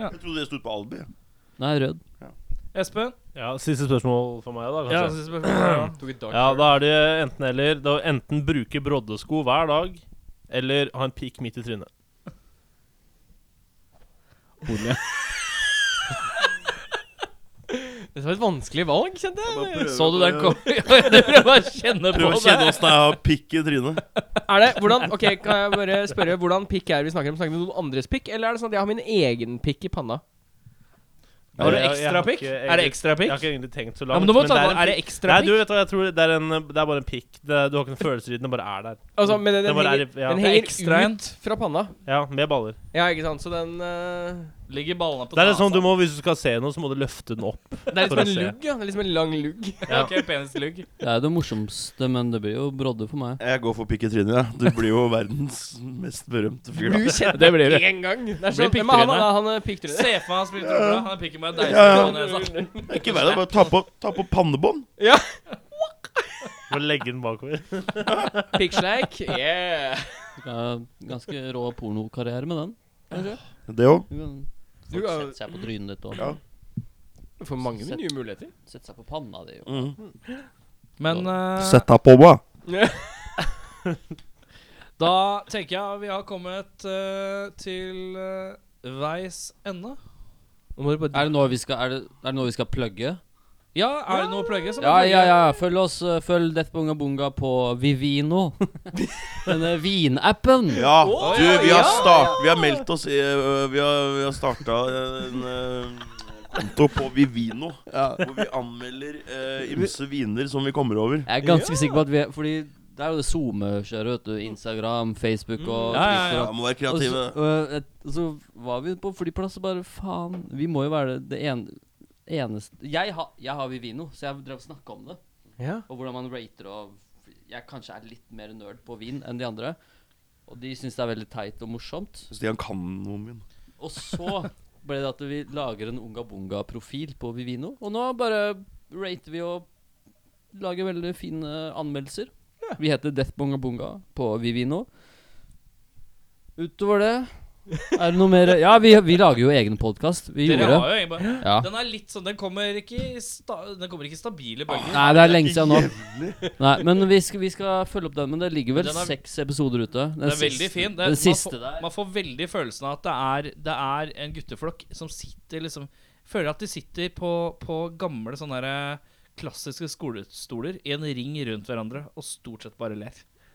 Jeg trodde det stod på Albi.
Nei, rød.
Espen?
Ja, Siste spørsmål for meg, da.
Ja,
kanskje.
siste spørsmål.
Tok et
Ja,
dark
Da er det enten-eller. Da Enten bruke broddesko hver dag, eller ha en pikk midt i trynet.
Det var et vanskelig valg, kjente jeg.
Så du den komme? Jeg prøver bare å kjenne på
Prøv å
det.
kjenne åssen det er å pikke i trynet.
Er det, hvordan, ok, Kan jeg bare spørre hvordan pikk er vi snakker om? Snakker vi om noen andres pikk, eller er det sånn at jeg har min egen pikk i panna? Har du
Jeg- jeg
ekstra
har
pikk?
ikke
Er det
egentlig-
ekstra
Jeg har
pikk?
ikke egentlig tenkt så langt.
Ja, men du må ta
det
den. Er
en
det
pikk.
ekstra
Nei, du
pikk?
vet hva, jeg tror det er, en, det er bare en pikk. Det, du har ikke noen følelser i den, den bare er der.
Altså, men den,
Det
den
bare er-
henger,
ja.
den
Det er
henger
ekstra en.
ut fra panna.
Ja, med baller.
Ja, ikke sant. Så den eh,
Legger ballene på
Det er litt
nasa.
sånn du må, Hvis du skal se noe, så må du løfte den opp.
Det er
For å
liksom en
se.
lugg, ja. Det er liksom en lang lugg.
ja, ok, penislugg.
Det er jo det morsomste, men det blir jo brodde for meg.
Jeg går for pikk i trynet, jeg. Du blir jo verdens mest berømte fyr.
Du
da.
kjenner
Det blir
deg
det.
én gang. Det er
Blir
sånn, hvem er han, da?
pikktryne.
Han er pikktryne.
Se for meg han spiller trommer. Han er pikken meg deilig.
Ja, ja.
på nesa.
Det er ikke verre, bare ta på, ta på pannebånd.
Du må legge den bakover.
Pikksleik. Yeah.
Du kan ha Ganske rå pornokarriere med den.
Det òg.
Du kan
Du
folk
kan-
sette seg på trynet ditt og
Ja.
Du får mange
Sett.
nye muligheter.
sette seg på panna di. Og.
Men eh,
Sett deg på, hva?
da tenker jeg vi har kommet eh, til eh, veis ende.
Nå må du bare
Er det noe vi skal, er det, er det noe vi skal plugge?
Ja, er det noe å plugge? så må
Ja,
du plugge.
ja, ja. Følg oss, eh, følg Death Bunga Bunga på Vivino. Denne vinappen.
Ja,
Å,
du, vi
ja,
har,
ja.
start, vi har meldt oss i, øh, Vi har, vi har starta en øh, konto på Vivino. Hvor vi anmelder øh, ymse viner som vi kommer over.
Jeg er ganske sikker på at vi er Fordi det er jo det SoMe-kjøret, vet du. Instagram, Facebook
Ja,
og
ja,
Ja,
Twitter. og-
må være
Og så,
kreative.
og et- og så var vi på flyplass og bare faen Vi må jo være det, det en, eneste jeg, ha, jeg har Vivino, så jeg drev og snakka om det.
Ja.
Og hvordan man rater og Jeg kanskje er litt mer nerd på vin enn de andre. Og de syns det er veldig teit og morsomt.
Stian kan noe om vin.
Og så ble det at vi lager en Unga Bunga-profil på Vivino. Og nå bare rater vi og lager veldig fine anmeldelser. Vi heter Death Bunga Bunga på Vivino. Utover det er det noe mer Ja, vi, vi lager jo egen podkast. Vi
Dere
gjorde
har jo egentlig bare
Ja.
Den er litt sånn Den kommer ikke i, sta den kommer ikke i stabile bølger.
Ah, Nei, det er lenge siden nå. Nei, men vi skal, vi skal følge opp den. Men det ligger vel
Den er-
seks episoder ute. Den
Den er veldig
siste-
fin. Det,
Den siste
man, får,
der.
man får veldig følelsen av at det er, det er en gutteflokk som sitter liksom Føler at de sitter på, på gamle sånne der, klassiske skolestoler i en ring rundt hverandre og stort sett bare ler.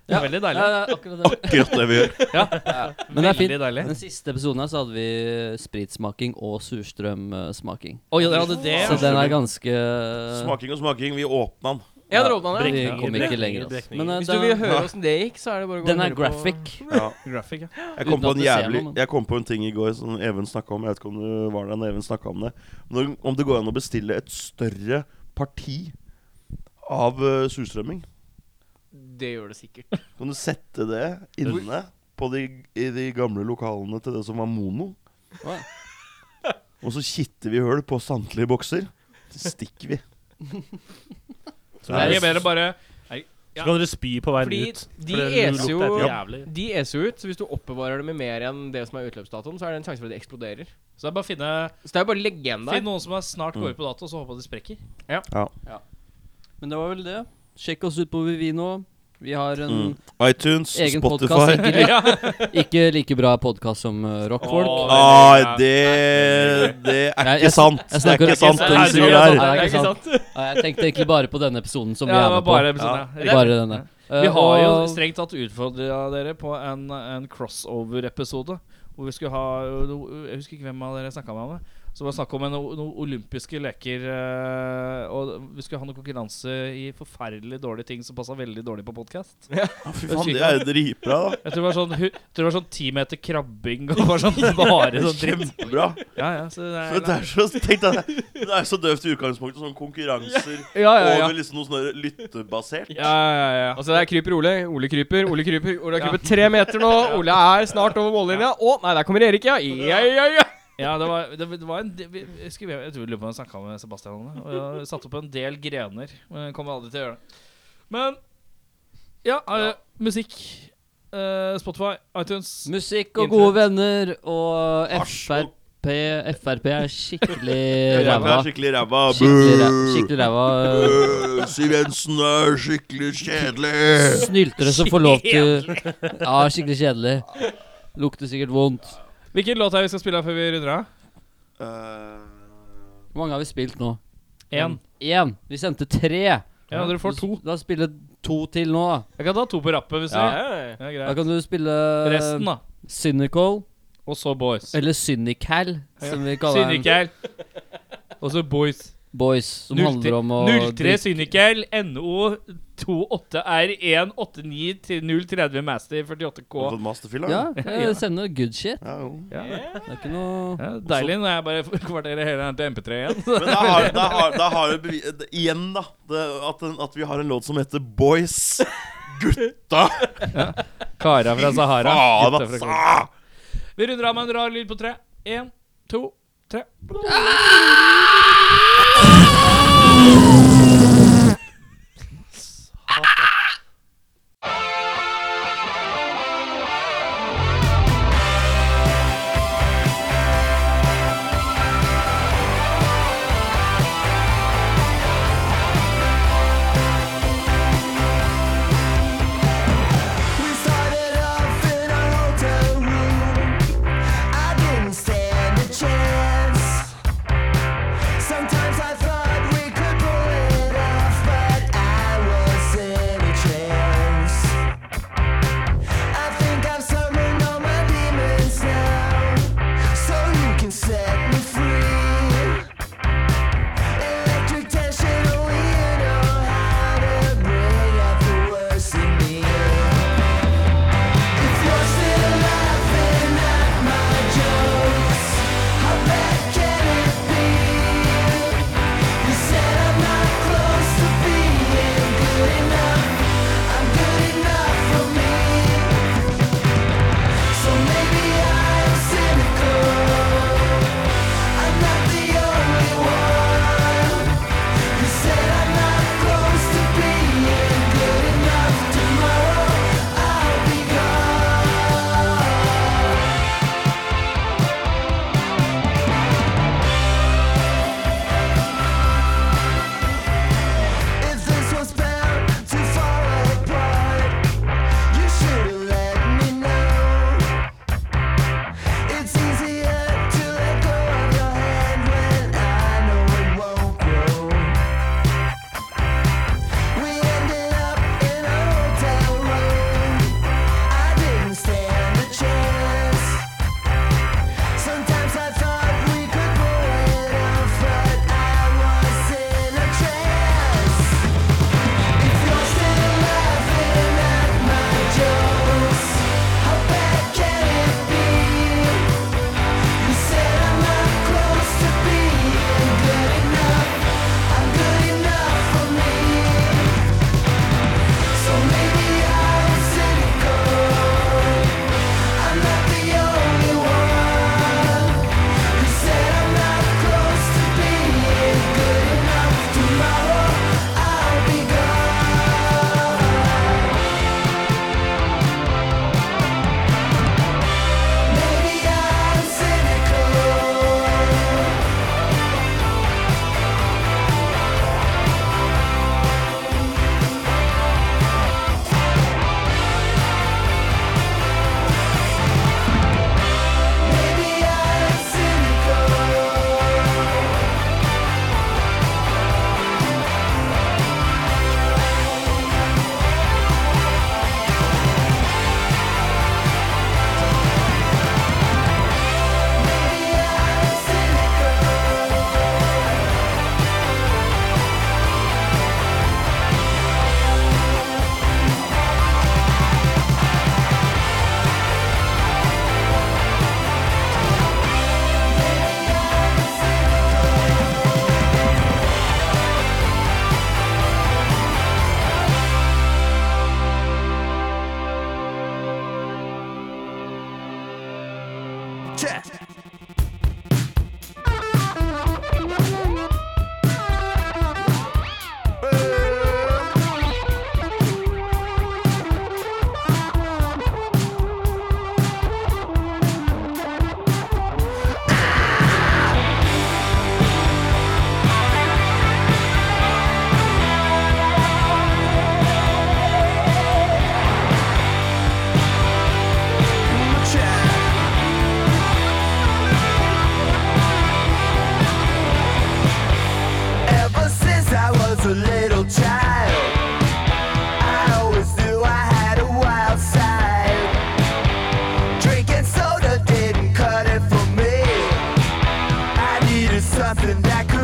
Det er veldig deilig.
Ja, ja, akkurat det.
Akkurat det vi gjør.
Men det er
veldig
fint.
deilig.
Den siste episoden her så hadde vi eh, spritsmaking og surstrømsmaking.
Oi, dere hadde det?
Så den er ganske Eh,
Smaking og smaking. Vi åpna den.
Jeg hadde åpna den.
Vi kom ikke
brekninger,
lenger. Altså.
brekninger.
Men eh,
Hvis du
den,
vil høre åssen det gikk, så er det bare å gå
den
og
er
høre på-
graphic.
Ja.
Graphic, ja.
Jeg kom,
Uten
på
at
en
vi ser
jævlig,
noe, men-
jeg kom på en ting i går som Even snakka om. Jeg vet ikke om du var der når Even snakka om det. Men om det går an å bestille et større parti av uh, surstrømming?
Det gjør det sikkert.
Kan du sette det inne på de, i de gamle lokalene til det som var mono?
Hva?
Og så kitter vi høl på samtlige bokser. Så stikker vi.
Så
Det er
kan
ikke bedre
dere-
bare
så kan dere spy på veien
Fordi
ut.
de
for det
eser jo-
lukter helt jævlig.
De eser jo ut, så hvis du oppbevarer det med mer enn det som er utløpsdatoen, så er det en sjanse for at det eksploderer.
Så det er bare å finne,
Så det er jo bare å legge igjen der.
finne noen som er snart
Mm.
går ut på dato, og så håpe at de sprekker.
Men det var vel det. Sjekk oss ut på Vivino. Vi har en
Mm. iTunes,
egen podkast.
Spotify
Ikke, li- ikke like bra podkast som eh, rockfolk.
Åh,
Nei, det, det er ikke
Jeg- jeg-
sant.
jeg
Det er
snakker
ikke sant,
ikke-
det
Nei,
du sier
det er
der.
sant.
Det er ikke
sant.
sant.
Nei, jeg tenkte egentlig bare på denne episoden som
Ja, det
vi er
var
med på.
bare episoden, ja.
Bare denne.
Vi
Eh,
har jo
og-
strengt tatt utfordra dere på en, en crossover-episode. Hvor vi skulle ha Jeg husker ikke hvem av dere snakka med om det. Så det var snakk om en- noen olympiske leker. eh, Og vi skulle ha noen konkurranse i forferdelig dårlige ting som passa veldig dårlig på podkast.
Å, Fy faen, det er jo dritbra, da.
Jeg tror det var sånn hu- jeg tror det var sånn ti meter krabbing og bare sånn bare sånn dritt.
Kjempebra.
Ja, ja, så det
For
er,
det er så, tenk deg, det. det er så døvt i utgangspunktet. Sånne konkurranser
Ja, ja, ja.
over liksom noe sånn der lyttebasert.
ja, ja, ja, ja.
Altså, der kryper Ole. Ole kryper, Ole kryper. Ole har krypet tre meter nå. Ole er snart over mållinja. Å, nei, der kommer Erik, ja. Ja, ja, ja.
Ja, det var, det, det var en del- vi- Jeg skulle- jeg tror vi lurer på om jeg snakka med Sebastian om det. Og jeg satte opp en del grener. Men jeg kommer aldri til å gjøre det. Men ja, eh, musikk. eh, Spotify, iTunes.
Musikk
Internett.
og gode venner og
Hasj og-
Frp Frp er skikkelig
Jeg
ræva.
er skikkelig ræva.
Skikkelig ræ-
Boo!
skikkelig ræva.
Øh, Siv Jensen er skikkelig kjedelig.
øh, Snyltere som får lov til Ja, skikkelig kjedelig. Lukter sikkert vondt.
Hvilken låt er det vi skal spille av før vi runder av?
Eh,
Hvor mange har vi spilt nå?
Én.
Én. Vi sendte tre.
Ja, dere får to.
Da spiller to til nå. da.
Jeg kan ta to på rappet hvis
Ja.
dere vil. Ja,
Da
greit.
kan du spille øh,
Resten, da.
Cynical.
Og så Boys.
Eller Cynical, som vi kaller den.
Syndikel. Og så Boys.
Boys. Som
03
handler om å
03
drikke-
Syndikel, NO, 28R189030 Master 48K.
Har du fått masterfyll,
Ja,
da?
eh, sende good shit.
Ja, jo.
Det er ikke noe
Ja, deilig når jeg bare kvarterer hele den til MP3 igjen.
Men da har, da har, da har jo bevi- det- Igjen, da. Det, at, den, at vi har en låt som heter Boys. Gutta!
Kara fra Sahara.
Faen,
Gutta fra
altså!
Sahara. Vi runder av med en rar lyd på tre. Én, to, tre.
We started off in our hotel room. I didn't stand a chance. Sometimes I thought we could pull it off, but I wasn't a chance. I think I've summoned all my demons now, so you can set me free. Electric tension, only you know how to bring out the worst in me. If you're still laughing at my jokes, how bad can it be? You said I'm not close to being good enough. I'm good enough for me. So maybe I'm cynical. I'm not the only one. You said I'm not close to being good enough. Tomorrow I'll be gone. If this was bound to fall apart, you should have let me know. It's easier to let go of your hand when I know it won't grow. We ended up in a hotel room. I didn't stand a chance. Sometimes I thought we could pull it off, but I wasn't a chance. If you're still laughing at my jokes, how bad can it be? You said I'm not close to being good enough. I'm good enough for me. So maybe I'm cynical. I'm not the only one. You said I'm not close to being good enough. Tomorrow I'll be gone. Maybe I'm cynical. Maybe I'm cynical. Check. Check. Ever since I was a little child, I always knew I had a wild side. Drinking soda didn't cut it for me. I needed something that could.